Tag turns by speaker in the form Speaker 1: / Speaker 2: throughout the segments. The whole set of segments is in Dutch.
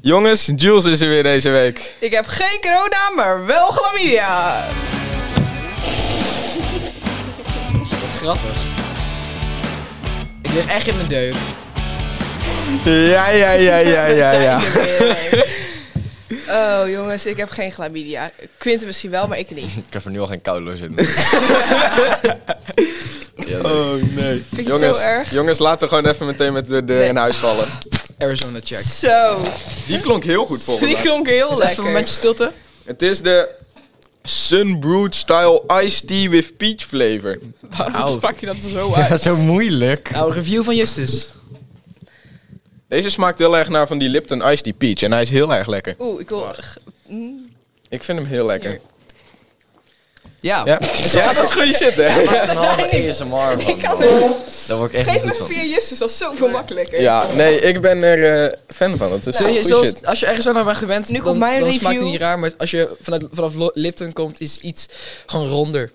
Speaker 1: Jongens, Jules is er weer deze week.
Speaker 2: Ik heb geen corona, maar wel chlamydia.
Speaker 3: Wat grappig. Ik lig echt in mijn deuk.
Speaker 1: Ja, ja, ja, ja, ja,
Speaker 2: Zijn
Speaker 1: ja.
Speaker 2: er weer. Oh jongens, ik heb geen chlamydia. Quinten misschien wel, maar ik niet.
Speaker 4: Ik heb er nu al geen koude in.
Speaker 1: Oh nee.
Speaker 2: Vind je het
Speaker 1: Jongens,
Speaker 2: zo erg?
Speaker 1: jongens, laten we gewoon even meteen met de deur
Speaker 2: Nee.
Speaker 1: in huis vallen.
Speaker 3: Arizona check.
Speaker 2: Zo,
Speaker 1: Die klonk heel goed volgens
Speaker 2: die
Speaker 1: mij.
Speaker 2: klonk heel
Speaker 3: Is even een
Speaker 2: lekker.
Speaker 3: momentje stilte?
Speaker 1: Het is de Sunbrewed Style Iced Tea with Peach Flavor.
Speaker 3: Au.
Speaker 2: Waarom pak je dat er zo uit?
Speaker 4: moeilijk.
Speaker 3: Nou, review van Justus.
Speaker 1: Deze smaakt heel erg naar van die Lipton Iced Tea Peach en hij is heel erg lekker.
Speaker 2: Oeh, ik wil... g- mm.
Speaker 1: Ik vind hem heel lekker.
Speaker 3: Ja.
Speaker 1: Ja, ja dat is goede shit hè.
Speaker 4: Een halve ASMR.
Speaker 2: Ik
Speaker 4: Van.
Speaker 2: kan het.
Speaker 4: Daar word ik echt niet
Speaker 2: Geef
Speaker 4: goed
Speaker 2: me even
Speaker 4: van.
Speaker 2: via Justus, dat is zoveel makkelijker.
Speaker 1: Ja, nee, ik ben er eh, fan van. Het is
Speaker 3: Zul je,
Speaker 1: goede
Speaker 3: zoals-
Speaker 1: shit.
Speaker 3: als je ergens aan bent gewend,
Speaker 2: Nu
Speaker 3: dan,
Speaker 2: komt mijn
Speaker 3: dan smaakt het
Speaker 2: review.
Speaker 3: niet raar. Maar als je vanuit, vanaf Lo- Lipton komt, is iets gewoon ronder.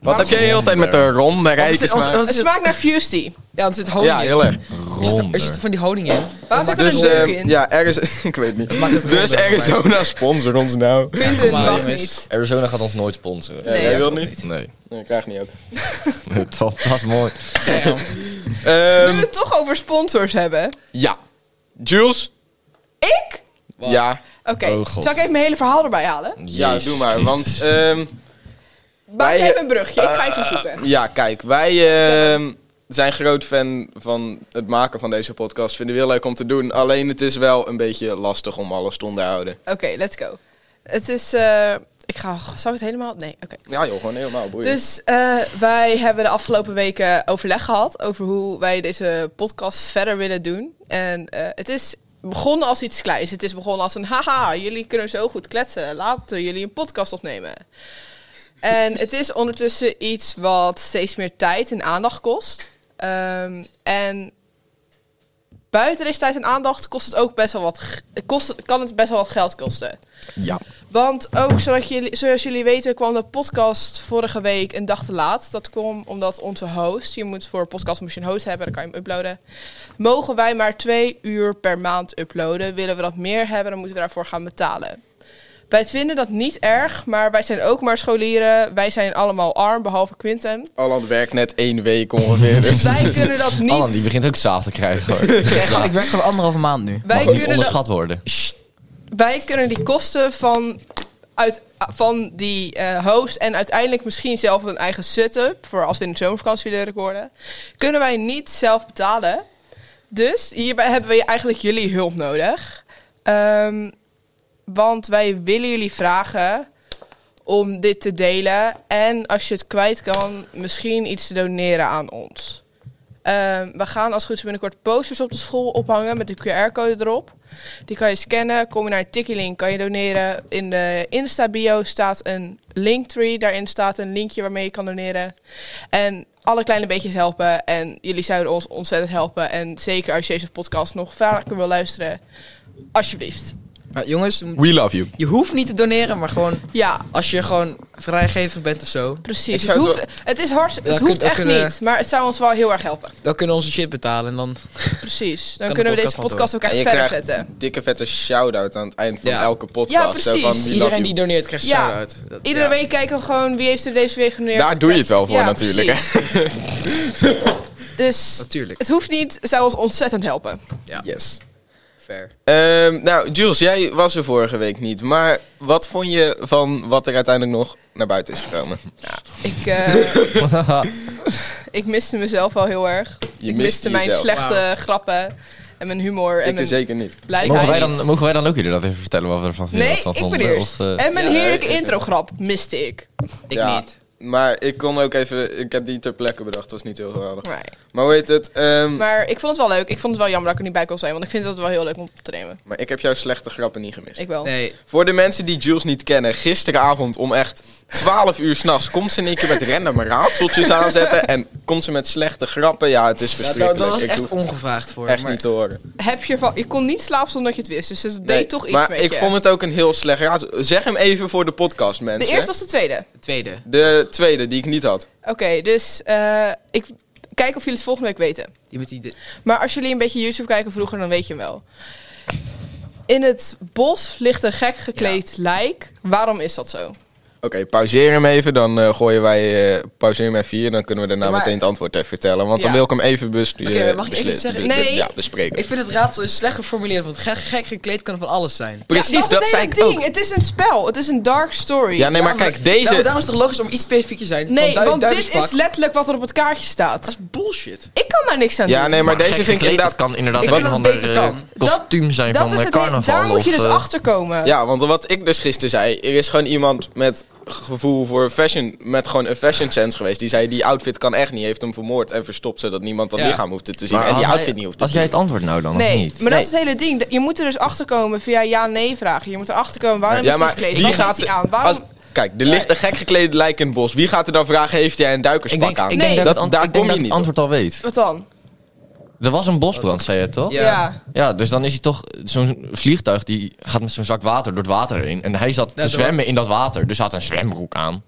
Speaker 1: Wat heb jij de hele tijd met de ronde rijtjes
Speaker 3: Want- want-
Speaker 1: maar?
Speaker 3: want-
Speaker 2: Het smaakt naar Fusty.
Speaker 3: Ja, want er zit honing
Speaker 1: Ja,
Speaker 3: in.
Speaker 1: heel erg.
Speaker 3: Er zit, er zit van die honing in.
Speaker 2: Waarom zit er
Speaker 1: Dus
Speaker 2: Ah, een
Speaker 1: eh,
Speaker 2: leuk in?
Speaker 1: ja, ergens, ik weet niet.
Speaker 3: maakt het
Speaker 1: Dus
Speaker 3: ronder,
Speaker 1: Arizona sponsor ons nou.
Speaker 2: Quinten
Speaker 3: maar,
Speaker 2: mag
Speaker 3: jongens.
Speaker 2: niet.
Speaker 4: Arizona gaat ons nooit sponsoren.
Speaker 1: Ja, jij
Speaker 2: dat
Speaker 1: wil niet?
Speaker 4: Nee.
Speaker 1: Nee, ik krijg niet ook.
Speaker 4: Top, dat is mooi.
Speaker 2: Nu we het toch over sponsors hebben.
Speaker 1: Ehm, ja. Jules?
Speaker 2: Ik?
Speaker 1: Ja.
Speaker 2: Oké,
Speaker 4: Oh, God.
Speaker 2: zal ik even mijn hele verhaal erbij halen?
Speaker 1: Ja,
Speaker 4: Jezus
Speaker 1: doe maar.
Speaker 4: Christus.
Speaker 1: Want, ehm,
Speaker 2: Maak
Speaker 1: Wij,
Speaker 2: jij
Speaker 1: eh,
Speaker 2: een brugje, ik ga even zoeken.
Speaker 1: ja, kijk, wij ehm, zijn groot fan van het maken van deze podcast. Vinden we heel leuk om te doen. Alleen het is wel een beetje lastig om alles te onderhouden.
Speaker 2: Oké, let's go. Het is. eh, ik ga. Zal ik het helemaal? Nee, oké.
Speaker 1: Ja joh, gewoon helemaal boeiend.
Speaker 2: Dus eh, wij hebben de afgelopen weken overleg gehad over hoe wij deze podcast verder willen doen. En eh, het is begonnen als iets kleins. Het is begonnen als een haha, jullie kunnen zo goed kletsen. Laten jullie een podcast opnemen. En het is ondertussen iets wat steeds meer tijd en aandacht kost. Ehm, en buiten deze tijd en aandacht kost het ook best wel wat. g- Kost, kan het best wel wat geld kosten.
Speaker 1: ja.
Speaker 2: Want ook zodat jullie, zoals jullie weten kwam de podcast vorige week een dag te laat. Dat kwam omdat onze host, je moet voor een podcast moet je een host hebben, dan kan je hem uploaden. Mogen wij maar twee uur per maand uploaden? Willen we dat meer hebben, dan moeten we daarvoor gaan betalen. Wij vinden dat niet erg, maar wij zijn ook maar scholieren. Wij zijn allemaal arm, behalve Quinten.
Speaker 1: Alland werkt net één week ongeveer.
Speaker 2: Dus
Speaker 1: Dus.
Speaker 2: wij kunnen dat niet.
Speaker 4: Alan, die begint ook zaaf te krijgen. Hoor.
Speaker 3: Ik werk gewoon anderhalve maand nu.
Speaker 4: Mag
Speaker 2: wij
Speaker 4: niet
Speaker 2: kunnen dat
Speaker 4: onderschat worden.
Speaker 2: wij kunnen die kosten van, uit, van die eh, host en uiteindelijk misschien zelf een eigen setup voor als we in de zomervakantie willen recorden, kunnen wij niet zelf betalen. Dus hierbij hebben we eigenlijk jullie hulp nodig. Ehm, want wij willen jullie vragen om dit te delen en als je het kwijt kan, misschien iets te doneren aan ons. Ehm, we gaan als het goed is binnenkort posters op de school ophangen met de QR-code erop. Die kan je scannen. Kom je naar Tikkelink, kan je doneren. In de Insta-bio staat een linktree. Daarin staat een linkje waarmee je kan doneren. En alle kleine beetjes helpen. En jullie zouden ons ontzettend helpen. En zeker als je deze podcast nog vaker wil luisteren, alsjeblieft.
Speaker 3: Maar Nou, jongens,
Speaker 1: We love you.
Speaker 3: je hoeft niet te doneren, maar gewoon
Speaker 2: Ja,
Speaker 3: als je gewoon vrijgevig bent of zo,
Speaker 1: Ik
Speaker 2: precies.
Speaker 1: zou
Speaker 2: Het,
Speaker 1: het
Speaker 2: hoeft, het is hard,
Speaker 3: Ja,
Speaker 2: het
Speaker 3: kun-
Speaker 2: hoeft
Speaker 3: dat
Speaker 2: echt
Speaker 3: kunnen-
Speaker 2: niet, maar het zou ons wel heel erg helpen.
Speaker 3: dan kunnen we onze shit betalen en dan
Speaker 2: Precies. Dan
Speaker 3: Kan de
Speaker 2: kunnen we
Speaker 3: podcast
Speaker 2: deze
Speaker 3: van door.
Speaker 2: podcast ook echt
Speaker 1: En je
Speaker 2: verder
Speaker 1: krijgt
Speaker 2: zetten.
Speaker 1: een dikke vette shout-out aan het eind van
Speaker 3: Ja.
Speaker 1: elke podcast.
Speaker 2: Ja,
Speaker 1: Zo
Speaker 2: precies.
Speaker 1: van, we love
Speaker 3: iedereen
Speaker 1: you.
Speaker 3: die doneert krijgt een
Speaker 2: Ja.
Speaker 3: shout-out. Dat-
Speaker 2: Iedere
Speaker 3: ja.
Speaker 2: week kijken we gewoon wie heeft er deze week geneerd.
Speaker 1: Daar doe je het wel voor
Speaker 2: Ja,
Speaker 1: natuurlijk. hè.
Speaker 2: precies. Dus
Speaker 3: Natuurlijk,
Speaker 2: het hoeft niet, het zou ons ontzettend helpen.
Speaker 3: ja,
Speaker 1: Yes.
Speaker 3: fair.
Speaker 1: Ehm, nou, Jules, jij was er vorige week niet. Maar wat vond je van wat er uiteindelijk nog naar buiten is gekomen?
Speaker 2: Ik, eh, ik miste mezelf al heel erg.
Speaker 1: Je
Speaker 2: ik
Speaker 1: miste
Speaker 2: miste mijn
Speaker 1: jezelf.
Speaker 2: slechte
Speaker 3: Wauw.
Speaker 2: grappen en mijn humor en
Speaker 1: Ik er
Speaker 2: mijn
Speaker 1: zeker niet.
Speaker 4: Mogen wij,
Speaker 2: blijheid.
Speaker 4: dan, mogen wij dan ook jullie dat even vertellen wat we ervan vinden?
Speaker 2: Nee,
Speaker 4: wat we
Speaker 2: ik ben
Speaker 4: vonden?
Speaker 2: eerst.
Speaker 4: Of, eh,
Speaker 2: En mijn
Speaker 3: ja,
Speaker 2: heerlijke
Speaker 1: ik ook.
Speaker 2: intrograp miste ik.
Speaker 3: Ik niet.
Speaker 1: Maar ik kon ook even... Ik heb die ter plekke bedacht. Dat was niet heel geweldig.
Speaker 2: Nee.
Speaker 1: Maar hoe heet het? Ehm, maar...
Speaker 2: Maar ik vond het wel leuk. Ik vond het wel jammer dat ik er niet bij kon zijn, want ik vind het wel heel leuk om op te nemen.
Speaker 1: ik heb jouw slechte grappen niet gemist.
Speaker 2: Ik wel.
Speaker 3: Nee,
Speaker 1: Voor de mensen die Jules niet kennen, gisteravond om echt 12 uur s'nachts komt ze in één keer met random raadseltjes aanzetten. En komt ze met slechte grappen. Ja, het is
Speaker 3: ja, daar-
Speaker 1: verschrikkelijk.
Speaker 3: daar was
Speaker 1: ik
Speaker 3: echt
Speaker 1: hoef
Speaker 3: ongevraagd voor.
Speaker 1: echt
Speaker 3: maar-
Speaker 1: niet te horen.
Speaker 2: Heb je, van, je kon niet slapen zonder dat je het wist, dus het
Speaker 1: Nee,
Speaker 2: deed toch iets
Speaker 1: maar
Speaker 2: met
Speaker 1: ik
Speaker 2: je.
Speaker 1: vond het ook een heel slecht raad. Zeg hem even voor de podcast,
Speaker 2: de
Speaker 1: mensen.
Speaker 2: eerste of de tweede?
Speaker 3: Tweede.
Speaker 1: De tweede, die ik niet had.
Speaker 2: Oké, dus eh, ik kijk of jullie het volgende week weten.
Speaker 3: Die met die... de-
Speaker 2: Maar als jullie een beetje YouTube kijken vroeger, dan weet je hem wel. In het bos ligt een gek gekleed lijk. Waarom is dat zo?
Speaker 1: Oké, pauzeer hem even. Dan eh, gooien wij... eh pauzeer hem even hier. Dan kunnen we daarna
Speaker 3: Ja, maar-
Speaker 1: meteen het antwoord even vertellen. Want dan
Speaker 2: Ja.
Speaker 1: wil ik hem even eh, besturen.
Speaker 3: Oké, maar mag ik even iets zeggen?
Speaker 2: Nee.
Speaker 1: Ja, bespreken.
Speaker 3: Ik vind het raadsel is slecht geformuleerd, want gek, gek gekleed kan van alles zijn.
Speaker 1: Precies,
Speaker 2: Ja, dat,
Speaker 1: dat
Speaker 2: is
Speaker 1: zei
Speaker 2: het
Speaker 1: ik
Speaker 2: hele ding.
Speaker 1: ook.
Speaker 2: Het is een spel. Het is een dark story.
Speaker 1: Ja, nee, maar kijk, deze...
Speaker 3: Nou, daarom is het toch logisch om iets specifiek te zijn.
Speaker 2: nee,
Speaker 3: van du-
Speaker 2: want dit
Speaker 3: duivelspak.
Speaker 2: is letterlijk wat er op het kaartje
Speaker 3: Dat
Speaker 2: staat.
Speaker 3: is bullshit.
Speaker 2: Ik kan daar niks aan
Speaker 1: Ja,
Speaker 2: doen.
Speaker 1: nee, maar, deze
Speaker 5: gek
Speaker 1: vind ik
Speaker 5: gekleed,
Speaker 1: inderdaad...
Speaker 5: dat kan inderdaad
Speaker 3: Ik
Speaker 5: een
Speaker 3: vind
Speaker 5: van
Speaker 3: dat
Speaker 5: de
Speaker 3: het beter kan.
Speaker 5: eh, kostuum zijn
Speaker 2: dat
Speaker 5: van
Speaker 2: is
Speaker 5: de
Speaker 2: het hele-
Speaker 5: carnaval.
Speaker 2: Daar moet je
Speaker 5: of,
Speaker 2: dus
Speaker 5: eh,
Speaker 2: achter komen.
Speaker 1: Ja, want wat ik dus gisteren zei, er is gewoon iemand met gevoel voor fashion, met gewoon een fashion sense geweest. Die zei, die outfit kan echt niet, heeft hem vermoord en verstopt, zodat niemand dat
Speaker 3: Ja.
Speaker 1: lichaam hoefde te zien.
Speaker 5: maar
Speaker 1: en die
Speaker 5: had
Speaker 1: outfit
Speaker 5: hij-
Speaker 1: niet hoeft te
Speaker 4: Als
Speaker 1: zien.
Speaker 4: jij het antwoord nou dan,
Speaker 2: Nee,
Speaker 4: of niet?
Speaker 2: maar dat
Speaker 1: Nee.
Speaker 2: is het hele ding. Je moet er dus achter komen via ja-nee vragen. Je moet erachter komen waarom is hij gekleed. Waarom heeft hij aan? Waarom...
Speaker 1: als- kijk, er ligt een gek gekleed lijk in het bos. Wie gaat er dan vragen, heeft hij een
Speaker 5: Ik
Speaker 1: duikerspak
Speaker 5: denk,
Speaker 1: aan?
Speaker 5: ik
Speaker 2: Nee.
Speaker 5: denk dat,
Speaker 1: Dat-
Speaker 5: het ant-
Speaker 1: daar
Speaker 5: ik denk
Speaker 1: kom je
Speaker 5: dat het
Speaker 1: niet
Speaker 5: antwoord al weet.
Speaker 2: Wat dan?
Speaker 5: Er was een bosbrand, zei je toch?
Speaker 2: Ja.
Speaker 3: Ja.
Speaker 5: Ja, dus dan is hij toch zo'n vliegtuig die gaat met zo'n zak water door het water heen. En hij zat te
Speaker 3: dat
Speaker 5: zwemmen in dat water. Dus hij had een zwembroek aan.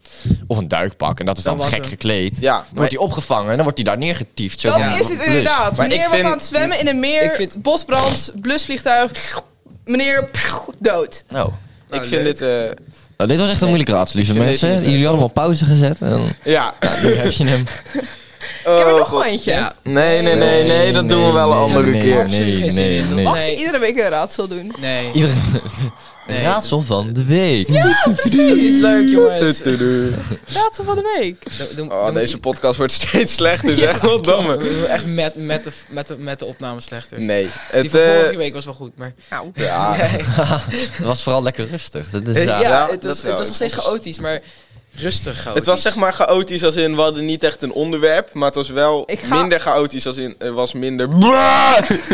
Speaker 5: Of een duikpak. En dat is dan,
Speaker 3: Dat was
Speaker 5: gek
Speaker 3: hem.
Speaker 5: gekleed.
Speaker 1: Ja,
Speaker 5: dan
Speaker 1: maar-
Speaker 5: wordt hij opgevangen en dan wordt hij daar neergetiefd. Zo
Speaker 2: Dat
Speaker 5: van,
Speaker 2: is
Speaker 5: "Oh,
Speaker 2: het
Speaker 5: blus.
Speaker 2: inderdaad.
Speaker 1: Maar ik
Speaker 2: meneer was
Speaker 1: vind-
Speaker 2: aan het zwemmen in een meer,
Speaker 3: Ik vind-
Speaker 2: bosbrand, blusvliegtuig, meneer dood.
Speaker 5: Nou,
Speaker 1: Ik
Speaker 3: Nou,
Speaker 1: vind
Speaker 3: leuk.
Speaker 1: dit... eh,
Speaker 5: nou, dit was echt een moeilijke raadsel, lieve
Speaker 1: ik vind
Speaker 5: mensen.
Speaker 1: deze niet
Speaker 5: Jullie hadden hem op pauze gezet. En dan
Speaker 1: eh, ja. Oh,
Speaker 5: heb je hem.
Speaker 2: Ik heb er nog
Speaker 1: God.
Speaker 2: eentje.
Speaker 3: Oh, Ja.
Speaker 1: Nee, nee, nee, nee, dat doen we wel een andere
Speaker 5: nee,
Speaker 1: keer.
Speaker 5: Nee,
Speaker 3: Absoluut
Speaker 5: nee,
Speaker 3: geen zin
Speaker 5: nee.
Speaker 3: in.
Speaker 5: nee.
Speaker 2: Mag
Speaker 3: Nee.
Speaker 2: je iedere week een raadsel doen?
Speaker 3: Nee.
Speaker 5: Iedereen-
Speaker 3: Nee.
Speaker 5: Raadsel van de week.
Speaker 3: Dat is leuk, jongens.
Speaker 1: Du- du- du.
Speaker 2: Raadsel van de week.
Speaker 3: Doe- doe-
Speaker 1: Oh,
Speaker 3: doe-
Speaker 1: deze podcast wordt steeds slechter, zeg. Wat
Speaker 3: We
Speaker 1: domme.
Speaker 3: doen echt met, met, de, met, de, met de opname slechter.
Speaker 1: Nee,
Speaker 3: Die
Speaker 1: het...
Speaker 3: van
Speaker 1: eh,
Speaker 3: vorige week was wel goed, maar...
Speaker 2: Nou,
Speaker 1: ja,
Speaker 5: Het was vooral lekker rustig. Dat is
Speaker 1: Eh,
Speaker 5: raar.
Speaker 3: Ja,
Speaker 1: ja,
Speaker 3: het,
Speaker 1: dat
Speaker 3: was,
Speaker 1: wel.
Speaker 3: het was nog steeds chaotisch, maar rustig chaotisch.
Speaker 1: Het was zeg maar chaotisch als in, we hadden niet echt een onderwerp, maar het was wel
Speaker 2: Ik ga-
Speaker 1: minder chaotisch als in, er was minder...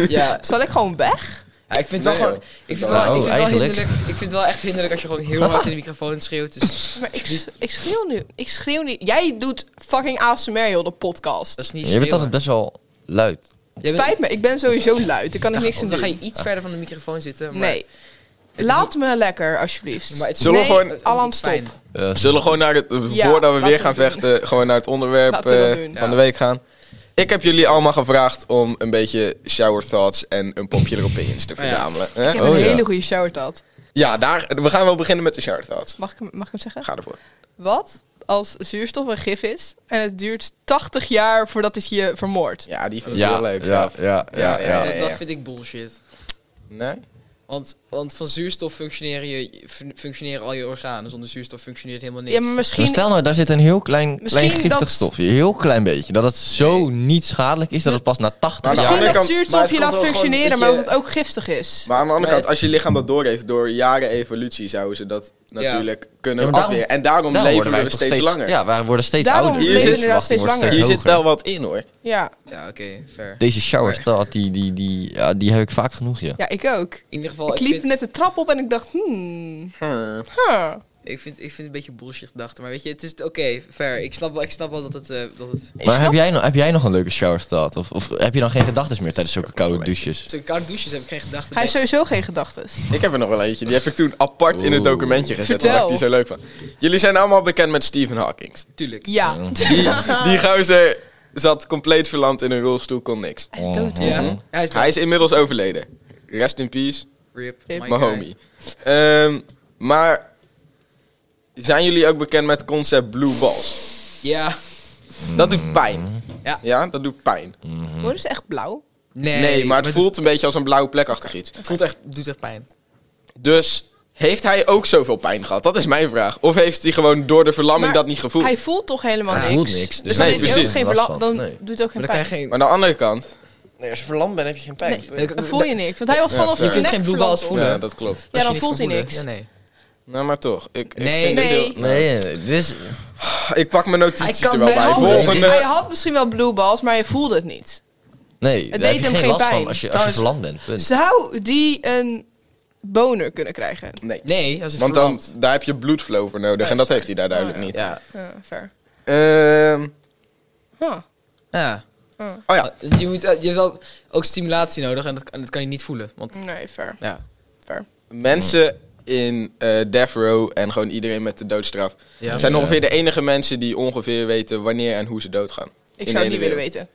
Speaker 3: Ja,
Speaker 2: zal ik gewoon weg?
Speaker 3: Ja, ik vind het wel
Speaker 1: Nee,
Speaker 3: gewoon...
Speaker 1: joh.
Speaker 3: Ik vind het wel,
Speaker 5: Oh,
Speaker 3: ik vind het wel
Speaker 5: eigenlijk.
Speaker 3: hinderlijk. Ik vind het wel echt hinderlijk als je gewoon heel hard in de microfoon schreeuwt. Dus
Speaker 2: Maar ik, s- ik schreeuw nu. Ik schreeuw niet. Jij doet fucking ASMR, joh, de podcast.
Speaker 3: dat is niet
Speaker 5: Je bent altijd
Speaker 3: schreeuwen.
Speaker 5: best wel luid.
Speaker 3: Jij bent-
Speaker 2: Spijt me, ik ben sowieso luid. Daar kan ik
Speaker 3: Ja,
Speaker 2: niks aan
Speaker 3: dan ga je
Speaker 2: doen.
Speaker 3: iets verder van de microfoon zitten. Maar
Speaker 2: Nee. Laat me lekker, alsjeblieft.
Speaker 3: Maar het is
Speaker 1: Zullen we
Speaker 2: nee,
Speaker 1: gewoon-
Speaker 2: Alan,
Speaker 3: niet
Speaker 2: stop.
Speaker 3: fijn.
Speaker 5: Eh,
Speaker 1: Zullen we gewoon naar het, eh,
Speaker 2: Ja,
Speaker 1: voordat we
Speaker 2: laten
Speaker 1: weer
Speaker 2: we
Speaker 1: gaan
Speaker 2: doen.
Speaker 1: vechten, gewoon naar het onderwerp
Speaker 2: Laten we dat
Speaker 1: eh,
Speaker 2: doen.
Speaker 1: van de
Speaker 3: Ja.
Speaker 1: week gaan? Ik heb jullie allemaal gevraagd om een beetje shower thoughts en een popular opinions te
Speaker 3: Oh ja.
Speaker 1: verzamelen.
Speaker 2: Ik
Speaker 1: hè?
Speaker 2: heb
Speaker 5: Oh,
Speaker 2: een
Speaker 5: ja.
Speaker 2: hele goede shower dat.
Speaker 1: Ja, daar, we gaan wel beginnen met de shower thoughts.
Speaker 2: Mag ik, hem- mag ik hem zeggen?
Speaker 1: Ga ervoor.
Speaker 2: Wat als zuurstof een gif is en het duurt 80 jaar voordat het je vermoordt?
Speaker 1: Ja, die vind ik
Speaker 5: ja,
Speaker 1: heel leuk.
Speaker 5: ja,
Speaker 1: zelf.
Speaker 5: ja, ja,
Speaker 1: Ja,
Speaker 5: ja.
Speaker 3: Eh, Dat,
Speaker 1: ja.
Speaker 3: dat vind ik bullshit.
Speaker 1: Nee?
Speaker 3: Want, want van zuurstof functioneren, je, fun- functioneren al je organen. Zonder zuurstof functioneert helemaal niks.
Speaker 2: Ja, maar
Speaker 5: Maar
Speaker 2: misschien...
Speaker 5: stel nou, daar zit een heel klein,
Speaker 2: Misschien
Speaker 5: klein giftig
Speaker 2: dat-
Speaker 5: stofje. Heel klein beetje. Dat het zo niet schadelijk is dat het pas na
Speaker 1: Maar
Speaker 5: 80 jaar...
Speaker 1: aan de
Speaker 2: Misschien
Speaker 1: andere
Speaker 2: dat
Speaker 1: kant-
Speaker 3: maar
Speaker 2: zuurstof
Speaker 3: het
Speaker 2: je
Speaker 3: komt
Speaker 2: laat
Speaker 3: wel gewoon
Speaker 2: functioneren,
Speaker 3: dat
Speaker 2: maar
Speaker 3: je-
Speaker 2: dat het ook giftig is.
Speaker 1: Maar aan de andere
Speaker 3: Maar
Speaker 1: kant, als je lichaam dat doorheeft door jaren evolutie, zouden ze dat natuurlijk kunnen
Speaker 5: Ja, maar daarom-
Speaker 1: afweren. En daarom,
Speaker 5: Daarom
Speaker 1: leven we
Speaker 5: wij
Speaker 1: nog
Speaker 5: toch
Speaker 1: steeds, langer.
Speaker 5: Ja, wij worden steeds
Speaker 2: Daarom
Speaker 5: ouder.
Speaker 1: leven we
Speaker 5: De
Speaker 2: inderdaad
Speaker 5: levensverwachting
Speaker 2: steeds
Speaker 5: wordt
Speaker 1: Hier zit
Speaker 5: hoger.
Speaker 1: wel wat in hoor.
Speaker 2: Ja,
Speaker 3: Ja, oké, fair.
Speaker 5: Deze showers, dat, die, die, die, ja, die heb ik vaak genoeg, ja.
Speaker 2: ja ik ook.
Speaker 3: In ieder geval,
Speaker 2: ik
Speaker 3: Oh, ik,
Speaker 2: liep
Speaker 3: vind,
Speaker 2: net de trap op en ik dacht, hmm,
Speaker 1: Hmm.
Speaker 2: huh.
Speaker 3: ik, vind, ik vind het een beetje bullshit gedachten. Maar weet je, het is oké, fair. Ik snap wel, ik snap wel dat, het, eh, dat het...
Speaker 2: Ik
Speaker 5: Maar
Speaker 2: snap-
Speaker 5: heb jij, nog, heb jij nog een leuke shower gehad? Of, of heb je dan geen gedachten meer tijdens zulke koude douches?
Speaker 3: Zo'n koude douches heb ik geen gedachten.
Speaker 2: Hij
Speaker 3: bij.
Speaker 2: heeft sowieso geen gedachten.
Speaker 1: Ik heb er nog wel eentje. Die heb ik toen apart in het
Speaker 5: Oeh.
Speaker 1: documentje gezet.
Speaker 2: Vertel.
Speaker 1: Omdat ik die zo leuk van. Jullie zijn allemaal bekend met Stephen Hawking.
Speaker 3: Tuurlijk.
Speaker 2: Ja.
Speaker 1: Die, die gozer zat compleet verlamd in een rolstoel, kon niks.
Speaker 2: Hij is dood,
Speaker 5: Mhm.
Speaker 2: hoor.
Speaker 3: Ja, hij is
Speaker 1: Hij is inmiddels overleden. Rest in peace,
Speaker 3: Rip,
Speaker 2: Rip.
Speaker 3: my
Speaker 1: my
Speaker 3: guy.
Speaker 1: homie. Ehm, maar zijn jullie ook bekend met het concept blue balls?
Speaker 3: Ja.
Speaker 1: Dat doet pijn.
Speaker 3: Ja.
Speaker 1: ja, dat doet pijn.
Speaker 2: Worden ze echt blauw?
Speaker 3: Nee,
Speaker 1: Nee, maar het
Speaker 3: dit-
Speaker 1: voelt een beetje als een blauwe plekachtig iets.
Speaker 3: het voelt echt, doet echt pijn.
Speaker 1: Dus heeft hij ook zoveel pijn gehad? Dat is mijn vraag. Of heeft hij gewoon door de verlamming
Speaker 2: Maar
Speaker 1: dat niet gevoeld?
Speaker 2: Hij voelt toch helemaal
Speaker 5: Hij
Speaker 2: niks?
Speaker 5: voelt niks, dus
Speaker 2: Dus dan,
Speaker 1: nee,
Speaker 2: heeft hij ook
Speaker 1: precies.
Speaker 2: geen
Speaker 5: Last
Speaker 2: verla- dan
Speaker 5: van, nee.
Speaker 2: doet het ook geen
Speaker 3: Maar dan krijg
Speaker 2: pijn.
Speaker 3: je geen...
Speaker 1: Maar aan de andere kant...
Speaker 5: Nee, als je verlamd bent heb je geen pijn.
Speaker 2: Dan voel je niks, want hij was
Speaker 1: Ja,
Speaker 2: vanaf
Speaker 1: fair.
Speaker 2: je
Speaker 1: Je kunt
Speaker 2: nek
Speaker 3: geen bloedbal
Speaker 2: verlamd.
Speaker 3: voelen.
Speaker 1: Ja, dat klopt.
Speaker 2: Ja, dan
Speaker 3: Als je
Speaker 2: voelt hij
Speaker 3: kan
Speaker 2: niks.
Speaker 3: voelen. Ja, nee.
Speaker 1: Nou, maar toch. Ik, ik
Speaker 3: Nee.
Speaker 1: vind dit
Speaker 2: Nee.
Speaker 1: heel-
Speaker 5: Nee, dit is...
Speaker 1: Ik pak mijn
Speaker 2: Hij
Speaker 1: notities
Speaker 2: kan
Speaker 1: er wel bij.
Speaker 2: wel. Hij
Speaker 1: Volgende.
Speaker 2: had misschien wel blue balls, maar hij voelde het niet.
Speaker 5: Nee,
Speaker 2: Het
Speaker 5: daar heb
Speaker 2: deed
Speaker 5: je
Speaker 2: hem
Speaker 5: geen
Speaker 2: geen
Speaker 5: last
Speaker 2: pijn.
Speaker 5: van als je, als je
Speaker 3: Trouwens-
Speaker 5: verlamd bent. Punt.
Speaker 2: Zou die een boner kunnen krijgen?
Speaker 1: Nee.
Speaker 3: Nee, als het
Speaker 1: Want dan,
Speaker 3: verlamd.
Speaker 1: daar heb je bloedflow voor nodig. en dat heeft hij daar duidelijk niet.
Speaker 3: Ja.
Speaker 2: Ja, ver.
Speaker 1: Ehm,
Speaker 2: Huh.
Speaker 3: Ja.
Speaker 1: oh ja.
Speaker 3: Je, moet, eh, je hebt wel ook stimulatie nodig en dat, en dat kan je niet voelen. Want,
Speaker 2: Nee, ver.
Speaker 3: ja.
Speaker 2: ver.
Speaker 1: Mensen in eh death row en gewoon iedereen met de doodstraf...
Speaker 3: Ja.
Speaker 1: zijn
Speaker 5: Ja.
Speaker 1: ongeveer de enige mensen die ongeveer weten wanneer en hoe ze doodgaan.
Speaker 2: Ik
Speaker 1: In
Speaker 2: zou
Speaker 1: de
Speaker 2: het niet
Speaker 1: hele
Speaker 2: willen
Speaker 1: wereld.
Speaker 2: weten.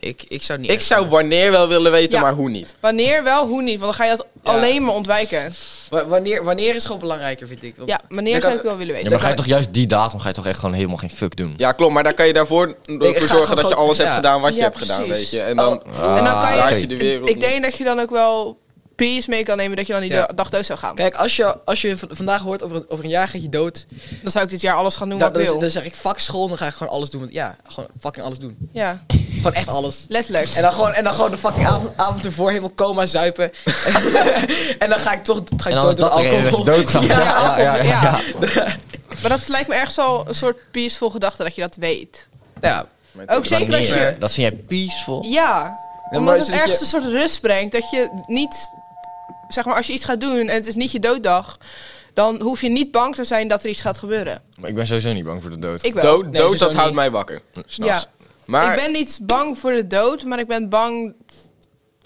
Speaker 3: Ik, ik zou niet
Speaker 1: Ik
Speaker 3: echt-
Speaker 1: zou wanneer wel willen weten,
Speaker 2: Ja.
Speaker 1: maar hoe niet.
Speaker 2: Wanneer wel, hoe niet. Want dan ga je dat
Speaker 3: Ja.
Speaker 2: alleen maar ontwijken.
Speaker 3: Wa- wanneer, wanneer is gewoon belangrijker, vind ik. Want
Speaker 2: Ja, wanneer
Speaker 3: dan
Speaker 2: zou
Speaker 3: kan-
Speaker 2: ik wel willen
Speaker 5: Ja,
Speaker 2: weten.
Speaker 5: maar ga je toch juist die datum ga je toch echt gewoon helemaal geen fuck doen?
Speaker 1: Ja, klopt, maar daar kan je daarvoor
Speaker 3: ga
Speaker 1: voor zorgen dat je
Speaker 3: gewoon-
Speaker 1: alles
Speaker 3: ja.
Speaker 1: hebt gedaan wat je
Speaker 2: Ja,
Speaker 1: hebt gedaan,
Speaker 2: precies.
Speaker 1: weet je. En dan
Speaker 2: Oh, en dan kan je-
Speaker 1: raak
Speaker 5: oké.
Speaker 1: je Ah, de wereld
Speaker 2: Ik denk dat je dan ook wel peace mee kan nemen dat je dan niet
Speaker 3: Ja.
Speaker 2: de dag dood zou gaan.
Speaker 3: Kijk, als je, als je v- vandaag hoort over een, over een jaar gaat je dood,
Speaker 2: Dan zou ik dit jaar alles gaan doen
Speaker 3: dan,
Speaker 2: wat
Speaker 3: dan,
Speaker 2: ik wil.
Speaker 3: dan zeg ik fuck school en dan ga ik gewoon alles doen. Want ja, gewoon fucking alles doen.
Speaker 2: Ja,
Speaker 3: Gewoon echt alles.
Speaker 2: letterlijk.
Speaker 3: En dan gewoon, en dan gewoon de fucking avond, avond ervoor helemaal coma zuipen. en dan ga ik toch ga ik
Speaker 5: En dan is
Speaker 3: dood door
Speaker 5: dat de reden dat
Speaker 3: alcohol.
Speaker 5: je doodgaat.
Speaker 2: Ja, alcohol,
Speaker 5: ja, ja,
Speaker 2: ja.
Speaker 5: ja.
Speaker 2: Maar dat lijkt me ergens wel een soort peaceful gedachte dat je dat weet.
Speaker 3: Ja,
Speaker 1: Met-
Speaker 2: Ook zeker als
Speaker 5: Wanneer?
Speaker 2: je...
Speaker 5: Dat vind jij peaceful?
Speaker 2: Ja,
Speaker 3: Ja,
Speaker 2: omdat
Speaker 3: maar
Speaker 2: het
Speaker 3: zodat
Speaker 2: ergens
Speaker 3: je-
Speaker 2: een soort rust brengt. Dat je niet, zeg maar, als je iets gaat doen en het is niet je dooddag, dan hoef je niet bang te zijn dat er iets gaat gebeuren.
Speaker 5: Maar ik ben sowieso niet bang voor de dood.
Speaker 2: Ik wel.
Speaker 1: Dood,
Speaker 3: Nee,
Speaker 1: dood
Speaker 3: sowieso
Speaker 1: dat houdt
Speaker 3: niet.
Speaker 1: mij wakker.
Speaker 2: ja.
Speaker 1: S'nachts. Maar
Speaker 2: Ik ben niet bang voor de dood, maar ik ben bang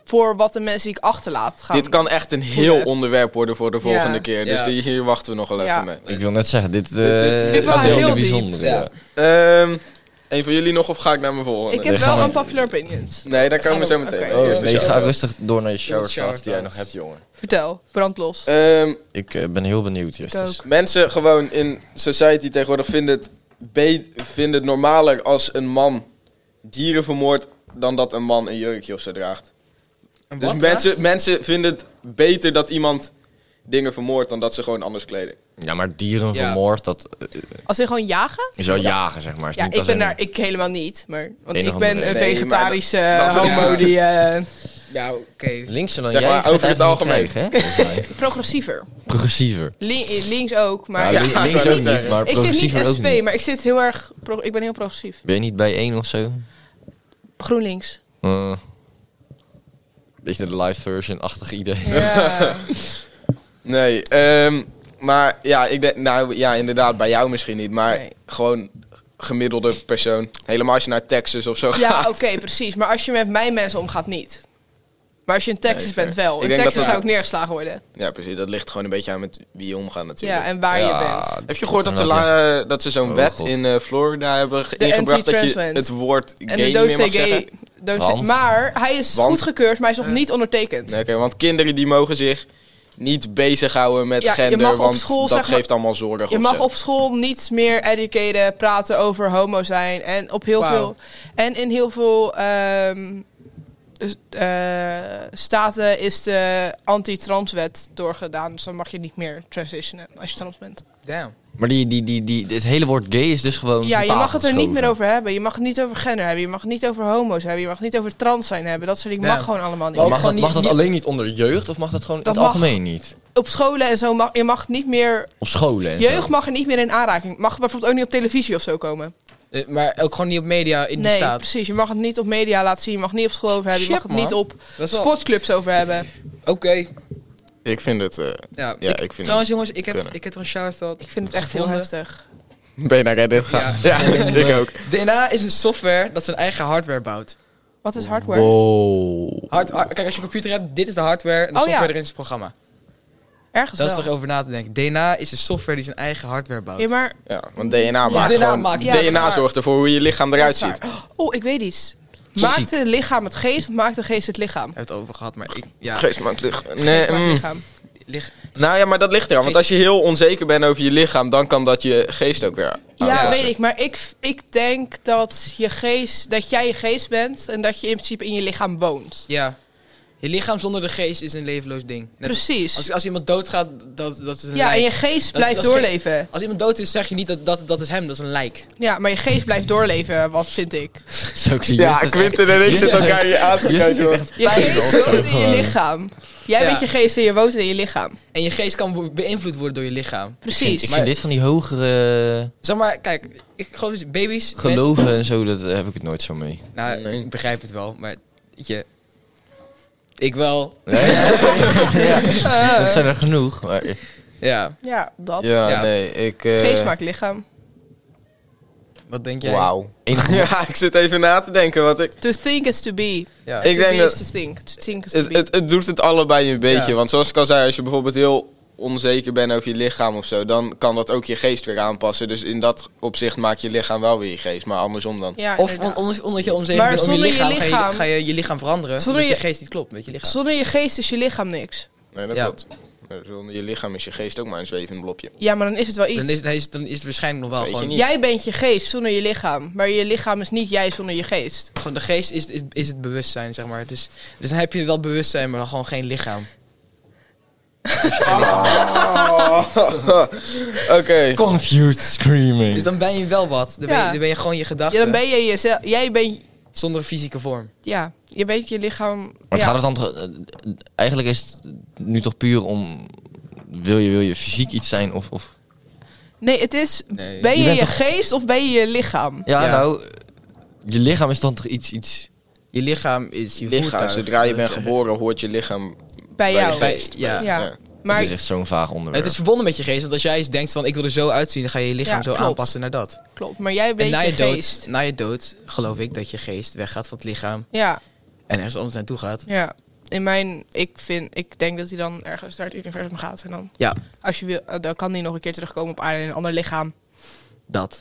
Speaker 2: voor wat de mensen die ik achterlaat gaan.
Speaker 1: dit kan echt een heel
Speaker 2: voelen.
Speaker 1: onderwerp worden voor de volgende keer. Dus
Speaker 3: Ja.
Speaker 1: die- hier wachten we nog wel even
Speaker 2: Ja.
Speaker 1: mee.
Speaker 5: Ik wil net zeggen, dit, eh
Speaker 1: dit- dit
Speaker 2: gaat
Speaker 5: gaat heel,
Speaker 2: heel diep.
Speaker 5: bijzonder.
Speaker 3: Ja.
Speaker 5: ja.
Speaker 1: Ehm een van jullie nog of ga ik naar mijn volgende?
Speaker 2: ik heb
Speaker 5: We gaan
Speaker 2: wel
Speaker 5: naar-
Speaker 2: een popular opinions.
Speaker 1: Nee, daar komen we zo
Speaker 3: Gaan we-
Speaker 1: meteen.
Speaker 2: oké.
Speaker 1: mee.
Speaker 2: Oh,
Speaker 1: Eerst de
Speaker 5: nee,
Speaker 1: show.
Speaker 5: ga rustig door naar je
Speaker 3: shower
Speaker 5: showerstaat die jij nog
Speaker 3: thoughts.
Speaker 5: hebt, jongen.
Speaker 2: Vertel, brandlos.
Speaker 1: Ehm,
Speaker 5: Ik eh, ben heel benieuwd, Justus.
Speaker 2: ook.
Speaker 1: mensen gewoon in society tegenwoordig vinden het, be- vinden het normaler als een man dieren vermoordt dan dat een man een jurkje of zo draagt.
Speaker 3: En
Speaker 1: dus
Speaker 3: wat
Speaker 1: mensen, mensen vinden het beter dat iemand dingen vermoordt dan dat ze gewoon anders kleden.
Speaker 5: Ja, maar dieren
Speaker 3: Ja.
Speaker 5: vermoord, dat eh,
Speaker 2: Als in gewoon jagen?
Speaker 5: is wel jagen, zeg maar. Is
Speaker 2: Ja,
Speaker 5: niet
Speaker 2: ik
Speaker 5: als
Speaker 2: ben
Speaker 5: in-
Speaker 2: daar ik helemaal niet, maar want
Speaker 5: Een
Speaker 2: ik
Speaker 5: of
Speaker 2: ben
Speaker 5: andere
Speaker 2: een
Speaker 1: Nee, maar
Speaker 2: vegetarische
Speaker 1: dat- dat-
Speaker 2: homo
Speaker 1: ja.
Speaker 2: die eh,
Speaker 3: Ja, oké.
Speaker 5: Linkser dan
Speaker 1: Zeg
Speaker 5: jij.
Speaker 1: maar,
Speaker 5: gaat
Speaker 1: over het
Speaker 5: eigenlijk
Speaker 1: algemeen.
Speaker 5: niet krijgen, hè, volgens mij.
Speaker 2: progressiever.
Speaker 5: Progressiever.
Speaker 2: Li- links ook, maar
Speaker 5: Ja,
Speaker 1: Ja,
Speaker 5: link-
Speaker 1: ik
Speaker 5: links
Speaker 1: zou
Speaker 5: ook
Speaker 1: niet
Speaker 5: niet,
Speaker 1: zeggen.
Speaker 5: maar
Speaker 2: ik zit niet
Speaker 5: progressiever ook
Speaker 2: SP,
Speaker 5: niet.
Speaker 2: maar ik zit heel erg, pro- ik ben heel progressief.
Speaker 5: Ben je niet bij één of zo?
Speaker 2: GroenLinks.
Speaker 5: Eh, Beetje de live version-achtig idee.
Speaker 2: Ja.
Speaker 1: Nee, ehm, maar ja, ik denk, nou ja, inderdaad, bij jou misschien niet, maar
Speaker 2: Nee.
Speaker 1: gewoon gemiddelde persoon. Helemaal als je naar Texas of zo
Speaker 2: Ja,
Speaker 1: gaat.
Speaker 2: oké, precies. Maar als je met mijn mensen omgaat, niet. Maar als je in Texas
Speaker 1: Nee, fair.
Speaker 2: bent, wel.
Speaker 1: Ik
Speaker 2: In
Speaker 1: denk dat
Speaker 2: Texas
Speaker 1: dat-
Speaker 2: zou ik neergeslagen worden.
Speaker 1: Ja, precies. Dat ligt gewoon een beetje aan met wie je omgaat natuurlijk.
Speaker 2: Ja, en waar je
Speaker 5: Ja,
Speaker 2: bent.
Speaker 1: Heb je gehoord dat, de
Speaker 5: Inderdaad,
Speaker 1: la- eh, dat ze zo'n
Speaker 5: Oh,
Speaker 1: wet
Speaker 5: God.
Speaker 1: in eh, Florida hebben ge-
Speaker 2: De
Speaker 1: ingebracht dat je
Speaker 2: anti-trans wet.
Speaker 1: het woord gay
Speaker 2: En
Speaker 1: niet
Speaker 2: de
Speaker 1: meer
Speaker 2: dood
Speaker 1: mag zeggen?
Speaker 2: gay. don't say-
Speaker 5: Want?
Speaker 2: Maar hij is
Speaker 1: Want?
Speaker 2: goedgekeurd, maar hij is nog niet ondertekend.
Speaker 1: Nee, oké, want kinderen die mogen zich niet bezighouden met
Speaker 2: Ja, je
Speaker 1: gender,
Speaker 2: mag op
Speaker 1: want
Speaker 2: school,
Speaker 1: dat
Speaker 2: zeg maar-
Speaker 1: geeft allemaal zorgen.
Speaker 2: Je
Speaker 1: of
Speaker 2: mag
Speaker 1: zo.
Speaker 2: op school niet meer educaten, praten over homo zijn. En op heel
Speaker 3: Wauw.
Speaker 2: veel. En in heel veel ehm, dus, eh, staten is de anti-transwet doorgedaan. Dus dan mag je niet meer transitionen als je trans bent.
Speaker 3: Damn.
Speaker 5: Maar die, die, die, die, dit hele woord gay is dus gewoon.
Speaker 2: Ja,
Speaker 5: van
Speaker 2: je
Speaker 5: tafel
Speaker 2: mag het er niet
Speaker 5: geschoven.
Speaker 2: meer over hebben. Je mag het niet over gender hebben. Je mag het niet over homo's hebben. Je mag het niet over trans zijn hebben. Dat soort dingen
Speaker 3: Ja.
Speaker 2: mag gewoon allemaal niet.
Speaker 3: Maar
Speaker 5: Mag
Speaker 3: Gewoon
Speaker 5: dat,
Speaker 3: niet-
Speaker 5: mag dat
Speaker 3: niet-
Speaker 5: alleen niet onder jeugd of mag dat gewoon in
Speaker 2: Dat
Speaker 5: het
Speaker 2: mag.
Speaker 5: algemeen niet?
Speaker 2: Op scholen en zo mag je mag niet meer.
Speaker 5: Op scholen en zo.
Speaker 2: Jeugd mag er niet meer in aanraking. Mag bijvoorbeeld ook niet op televisie of zo komen.
Speaker 3: Eh, Maar ook gewoon niet op media in de
Speaker 2: Nee,
Speaker 3: staat.
Speaker 2: precies. Je mag het niet op media laten zien. Je mag het niet op school over hebben. je
Speaker 3: Shit,
Speaker 2: mag het niet
Speaker 3: man.
Speaker 2: op
Speaker 3: Dat is wel...
Speaker 2: sportclubs over hebben.
Speaker 3: Oké.
Speaker 1: Ik vind het... eh,
Speaker 3: Ja,
Speaker 1: ja, ik,
Speaker 3: ik-
Speaker 1: vind
Speaker 3: Trouwens jongens, ik heb,
Speaker 1: Kunnen.
Speaker 3: ik heb er een shout-out.
Speaker 2: Ik vind het echt heel
Speaker 3: Gevonden.
Speaker 2: heftig.
Speaker 1: het... Ben je naar Reddit gegaan? Ja, ik ook.
Speaker 3: DNA is een software dat zijn eigen hardware bouwt.
Speaker 2: Wat is hardware?
Speaker 5: Wow.
Speaker 3: Hard, hard- kijk, als je een computer hebt, dit is de hardware en de
Speaker 2: Oh,
Speaker 3: software
Speaker 2: ja.
Speaker 3: erin is het programma.
Speaker 2: Ergens
Speaker 3: Dat is
Speaker 2: wel.
Speaker 3: toch over na te denken. DNA is een software die zijn eigen hardware bouwt.
Speaker 2: Ja, maar...
Speaker 1: Ja, want DNA maakt
Speaker 3: DNA
Speaker 1: gewoon...
Speaker 3: maakt-
Speaker 2: ja, dat
Speaker 1: DNA
Speaker 2: is
Speaker 1: zorgt ervoor hoe je lichaam eruit
Speaker 2: dat is
Speaker 1: ziet.
Speaker 2: waar. Oh, ik weet iets. Maakt het lichaam het geest of maakt de geest het lichaam?
Speaker 3: We hebben het over gehad, maar ik... Ja,
Speaker 1: Geest maakt lichaam.
Speaker 2: Geest
Speaker 1: Nee,
Speaker 2: maakt
Speaker 1: mm.
Speaker 2: lichaam.
Speaker 3: lig-
Speaker 1: Nou ja, maar dat ligt eraan. Want als je heel onzeker bent over je lichaam, dan kan dat je geest ook weer
Speaker 3: Ah,
Speaker 2: Ja,
Speaker 1: aanpassen.
Speaker 2: weet ik. Maar ik, ik denk dat, je geest, dat jij je geest bent en dat je in principe in je lichaam woont.
Speaker 3: ja. Je lichaam zonder de geest is een levenloos ding. Net als-
Speaker 2: Precies.
Speaker 3: Als, als iemand doodgaat, dat, dat is een
Speaker 2: ja, en
Speaker 3: lijk.
Speaker 2: je geest
Speaker 3: Dat is-
Speaker 2: blijft
Speaker 3: dat is geen-
Speaker 2: doorleven.
Speaker 3: Als iemand dood is, zeg je niet dat, dat dat is hem, dat is een lijk.
Speaker 2: Ja, maar je geest blijft doorleven, wat vind ik.
Speaker 5: Zo ik zie
Speaker 1: Ja,
Speaker 5: Justus
Speaker 1: Quinten en ik zitten elkaar hier aan te kijken. hoor.
Speaker 2: Je geest woont in je lichaam. Jij
Speaker 3: Ja.
Speaker 2: bent je geest en je woont in je lichaam.
Speaker 3: En je geest kan be- beïnvloed worden door je lichaam.
Speaker 5: echt- Ik
Speaker 2: Precies.
Speaker 5: vind
Speaker 3: Maar-
Speaker 5: dit van die hogere
Speaker 3: Zeg maar, kijk, ik geloof dus baby's...
Speaker 5: geloven en zo, dat daar heb ik het nooit zo mee.
Speaker 3: mensen- nou,
Speaker 1: Nee.
Speaker 3: ik begrijp het wel, maar weet je... Ik wel.
Speaker 2: Eh.
Speaker 5: Dat zijn er genoeg. Maar
Speaker 3: Ja,
Speaker 2: Ja, dat.
Speaker 1: Ja,
Speaker 3: Ja.
Speaker 1: nee, ik... eh,
Speaker 2: Geest maakt lichaam.
Speaker 3: wat denk jij?
Speaker 1: Wauw.
Speaker 5: Enige-
Speaker 1: Ja, ik zit even na te denken wat ik...
Speaker 2: To think is to be.
Speaker 3: Ja.
Speaker 1: Ik
Speaker 2: to
Speaker 1: denk
Speaker 2: be
Speaker 1: dat-
Speaker 2: is to think. To think is to
Speaker 1: Het,
Speaker 2: be.
Speaker 1: het, het doet het allebei een beetje.
Speaker 3: Ja.
Speaker 1: Want zoals ik al zei, als je bijvoorbeeld heel onzeker bent over je lichaam of zo, dan kan dat ook je geest weer aanpassen. Dus in dat opzicht maakt je lichaam wel weer je geest, maar andersom dan.
Speaker 2: Ja,
Speaker 3: Of on-
Speaker 2: inderdaad.
Speaker 3: on- omdat je onzeker
Speaker 2: Maar
Speaker 3: bent om je
Speaker 2: zonder je
Speaker 3: lichaam, Ga,
Speaker 2: lichaam-
Speaker 3: je, ga je je lichaam veranderen.
Speaker 2: Zonder
Speaker 3: omdat je,
Speaker 2: je-
Speaker 3: geest niet klopt met je lichaam.
Speaker 2: Zonder je geest is je lichaam niks.
Speaker 1: Nee, dat
Speaker 3: Ja.
Speaker 1: klopt. Zonder Je lichaam is je geest ook maar een zwevend blopje.
Speaker 2: Ja, maar dan is het wel iets.
Speaker 3: Dan is, het, dan is het- dan is het waarschijnlijk nog wel
Speaker 1: Weet je
Speaker 3: gewoon...
Speaker 1: niet.
Speaker 2: Jij bent je geest zonder je lichaam. Maar je lichaam is niet jij zonder je geest.
Speaker 3: Gewoon de geest is, is, is het bewustzijn, zeg maar. Dus, dus dan heb je wel bewustzijn, maar dan gewoon geen lichaam.
Speaker 1: Oké.
Speaker 5: Confused screaming.
Speaker 3: Dus dan ben je wel wat. Dan ben je,
Speaker 2: Ja.
Speaker 3: dan ben je gewoon je gedachten.
Speaker 2: Ja, dan ben je jezelf. Jij bent.
Speaker 3: Zonder fysieke vorm.
Speaker 2: Ja, je bent je lichaam.
Speaker 5: Maar
Speaker 2: ja.
Speaker 5: het gaat het dan toch, eh, eh, Eigenlijk is het nu toch puur om... Wil je, wil je fysiek iets zijn of... of
Speaker 2: Nee, het is.
Speaker 3: Nee.
Speaker 2: ben
Speaker 5: Je
Speaker 2: je je,
Speaker 5: bent toch-
Speaker 2: geest of ben je je lichaam?
Speaker 5: ja,
Speaker 3: Ja.
Speaker 5: nou... Je lichaam is dan toch iets... iets
Speaker 3: Je lichaam is je
Speaker 1: lichaam,
Speaker 3: voertuig,
Speaker 1: zodra je
Speaker 3: wil ik
Speaker 1: bent
Speaker 3: zeggen.
Speaker 1: geboren, hoort je lichaam.
Speaker 2: Bij
Speaker 1: je
Speaker 2: jou.
Speaker 1: geest.
Speaker 3: Bij- ja.
Speaker 2: Ja.
Speaker 1: Ja.
Speaker 5: maar,
Speaker 2: Maar
Speaker 5: het is echt zo'n vaag onderwerp.
Speaker 3: Het is verbonden met je geest, want als jij eens denkt van ik wil er zo uitzien, dan ga je je lichaam
Speaker 2: Ja,
Speaker 3: zo
Speaker 2: klopt.
Speaker 3: aanpassen naar dat.
Speaker 2: klopt. Maar jij bent
Speaker 3: en na
Speaker 2: je,
Speaker 3: je, dood,
Speaker 2: geest.
Speaker 3: na je dood geloof ik dat je geest weggaat van het lichaam
Speaker 2: Ja,
Speaker 3: en ergens anders naartoe gaat.
Speaker 2: ja. In mijn, ik vind, ik denk dat hij dan ergens naar het universum gaat en dan,
Speaker 3: Ja,
Speaker 2: als je wil, eh, dan kan hij nog een keer terugkomen op aarde in een ander lichaam.
Speaker 3: dat.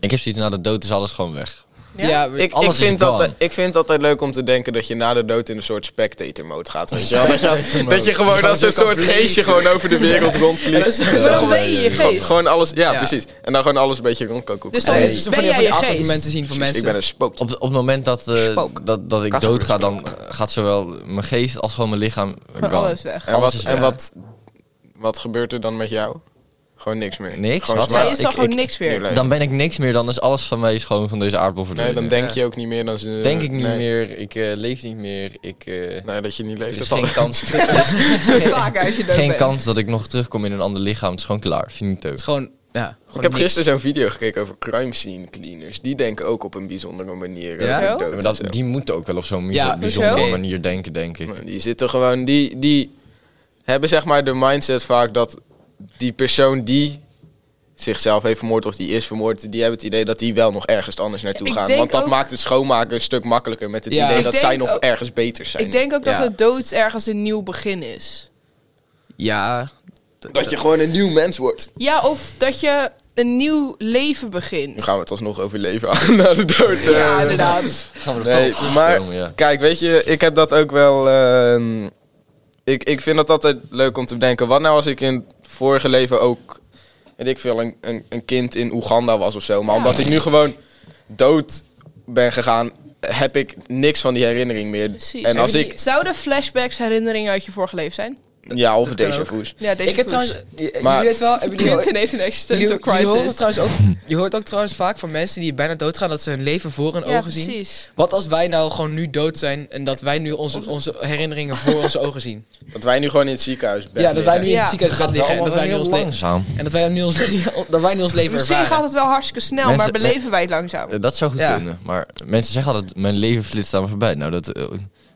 Speaker 5: Ik heb zoiets, na de dood is alles gewoon weg.
Speaker 3: maar-
Speaker 1: Ik,
Speaker 5: Alles
Speaker 1: ik,
Speaker 5: is
Speaker 1: vind dat,
Speaker 5: gone.
Speaker 1: ik vind het altijd leuk om te denken dat je na de dood in een soort spectator mode gaat. Weet je wel? Dat, je als- dat je gewoon als een soort geestje gewoon over de wereld rondvliegt.
Speaker 2: Maar dan ben je je
Speaker 1: Gewoon,
Speaker 2: geest.
Speaker 1: gewoon alles, ja,
Speaker 3: Ja.
Speaker 1: precies. En dan gewoon alles een beetje rond kan koeken.
Speaker 2: Dus dan
Speaker 3: Nee,
Speaker 2: is-
Speaker 3: het is
Speaker 2: ben
Speaker 3: van die-
Speaker 2: jij
Speaker 3: van die
Speaker 2: je geest?
Speaker 3: argumenten zien van mensen.
Speaker 1: ik ben een spook.
Speaker 5: Op, op het moment dat, eh,
Speaker 3: Spook.
Speaker 5: dat, dat ik
Speaker 1: Casper
Speaker 5: dood ga, dan eh, gaat zowel mijn geest als gewoon mijn lichaam eh,
Speaker 2: Gewoon
Speaker 5: gone.
Speaker 2: alles weg.
Speaker 1: En,
Speaker 5: Alles
Speaker 1: wat,
Speaker 5: is
Speaker 1: en
Speaker 5: weg.
Speaker 1: wat, wat gebeurt er dan met jou? Gewoon niks meer.
Speaker 5: Niks,
Speaker 1: Gewoon
Speaker 5: wat?
Speaker 1: zwaar.
Speaker 2: Zij is dan
Speaker 5: ik-
Speaker 2: gewoon
Speaker 5: ik-
Speaker 2: niks weer.
Speaker 1: Nee.
Speaker 5: Dan ben ik niks meer, dan is alles van mij is gewoon van deze aardbol verdwenen.
Speaker 1: Nee, dan denk je ook niet meer. Dan ze,
Speaker 5: Denk ik niet
Speaker 1: nee.
Speaker 5: meer, ik eh, leef niet meer, ik... eh,
Speaker 1: Nee, dat je niet
Speaker 5: er
Speaker 1: leeft.
Speaker 5: is
Speaker 1: dat
Speaker 5: geen
Speaker 1: al-
Speaker 5: kans,
Speaker 2: Vaak als je dood
Speaker 5: geen
Speaker 2: bent.
Speaker 5: kans dat ik nog terugkom in een ander lichaam. Het is gewoon klaar, finito.
Speaker 3: Het is gewoon, ja, gewoon
Speaker 1: Ik heb
Speaker 3: niks.
Speaker 1: gisteren zo'n video gekeken over crime scene cleaners. Die denken ook op een bijzondere manier.
Speaker 3: Ja?
Speaker 1: over
Speaker 2: Zo?
Speaker 1: dood
Speaker 5: Maar
Speaker 1: en
Speaker 5: dat,
Speaker 1: zo.
Speaker 5: die moeten ook wel op zo'n
Speaker 3: Ja,
Speaker 5: bijzo-
Speaker 2: hoezo?
Speaker 5: bijzondere
Speaker 3: Oké.
Speaker 5: manier denken, denk ik.
Speaker 1: Maar Die zitten gewoon, die, die hebben zeg maar de mindset vaak dat die persoon die zichzelf heeft vermoord of die is vermoord, die hebben het idee dat die wel nog ergens anders naartoe
Speaker 2: Ik
Speaker 1: gaan.
Speaker 2: denk
Speaker 1: Want dat
Speaker 2: ook-
Speaker 1: maakt het schoonmaken een stuk makkelijker met het
Speaker 3: Ja.
Speaker 1: idee
Speaker 3: Ik
Speaker 1: dat
Speaker 2: denk
Speaker 1: zij nog
Speaker 2: ook-
Speaker 1: ergens beter zijn.
Speaker 2: Ik denk ook dat
Speaker 3: Ja.
Speaker 2: de dood ergens een nieuw begin is.
Speaker 3: Ja, d-
Speaker 1: Dat je gewoon een nieuw mens wordt.
Speaker 2: Ja, of dat je een nieuw leven
Speaker 1: Nu
Speaker 2: begint.
Speaker 1: gaan we het alsnog over leven aan na de dood.
Speaker 2: Ja,
Speaker 1: Eh,
Speaker 2: inderdaad.
Speaker 5: Gaan we dat
Speaker 1: Nee,
Speaker 5: toch
Speaker 1: maar
Speaker 5: filmen, ja.
Speaker 1: kijk, weet je, ik heb dat ook wel. ehm, ik, ik vind dat altijd leuk om te bedenken. Wat nou als ik in het vorige leven ook, weet ik veel, een, een, een kind in Oeganda was of zo. Maar omdat ik nu gewoon dood ben gegaan, heb ik niks van die herinnering meer.
Speaker 2: Precies.
Speaker 1: En als
Speaker 3: Hebben
Speaker 1: ik,
Speaker 2: Zouden flashbacks herinneringen uit je vorige leven zijn?
Speaker 1: ja, of
Speaker 3: dat kan
Speaker 1: deze
Speaker 3: ook.
Speaker 1: voes.
Speaker 2: Ja, deze
Speaker 3: ik heb
Speaker 2: proef.
Speaker 3: trouwens... je-
Speaker 1: Maar-
Speaker 3: Jullie weten wel, hebben jullie
Speaker 2: Quentin heeft een existential
Speaker 3: Jullie- jullie horen
Speaker 2: crisis.
Speaker 3: trouwens ook, je hoort ook trouwens vaak van mensen die bijna doodgaan dat ze hun leven voor hun
Speaker 2: Ja,
Speaker 3: ogen zien.
Speaker 2: precies.
Speaker 3: Wat als wij nou gewoon nu dood zijn en dat wij nu onze, onze herinneringen voor onze ogen zien?
Speaker 1: Dat wij nu gewoon in het ziekenhuis
Speaker 3: Ja, dat wij nu in
Speaker 2: Ja.
Speaker 3: het ziekenhuis gaan liggen en dat wij nu ons leven
Speaker 5: langzaam.
Speaker 3: en dat wij nu ons, dat wij nu ons leven
Speaker 2: Misschien
Speaker 3: ervaren.
Speaker 2: gaat het wel hartstikke snel, maar
Speaker 5: Mensen-
Speaker 2: beleven wij het langzaam.
Speaker 5: Eh, Dat zou goed
Speaker 3: Ja.
Speaker 5: kunnen. Maar mensen zeggen altijd, mijn leven flitst aan me voorbij. Nou, dat, eh,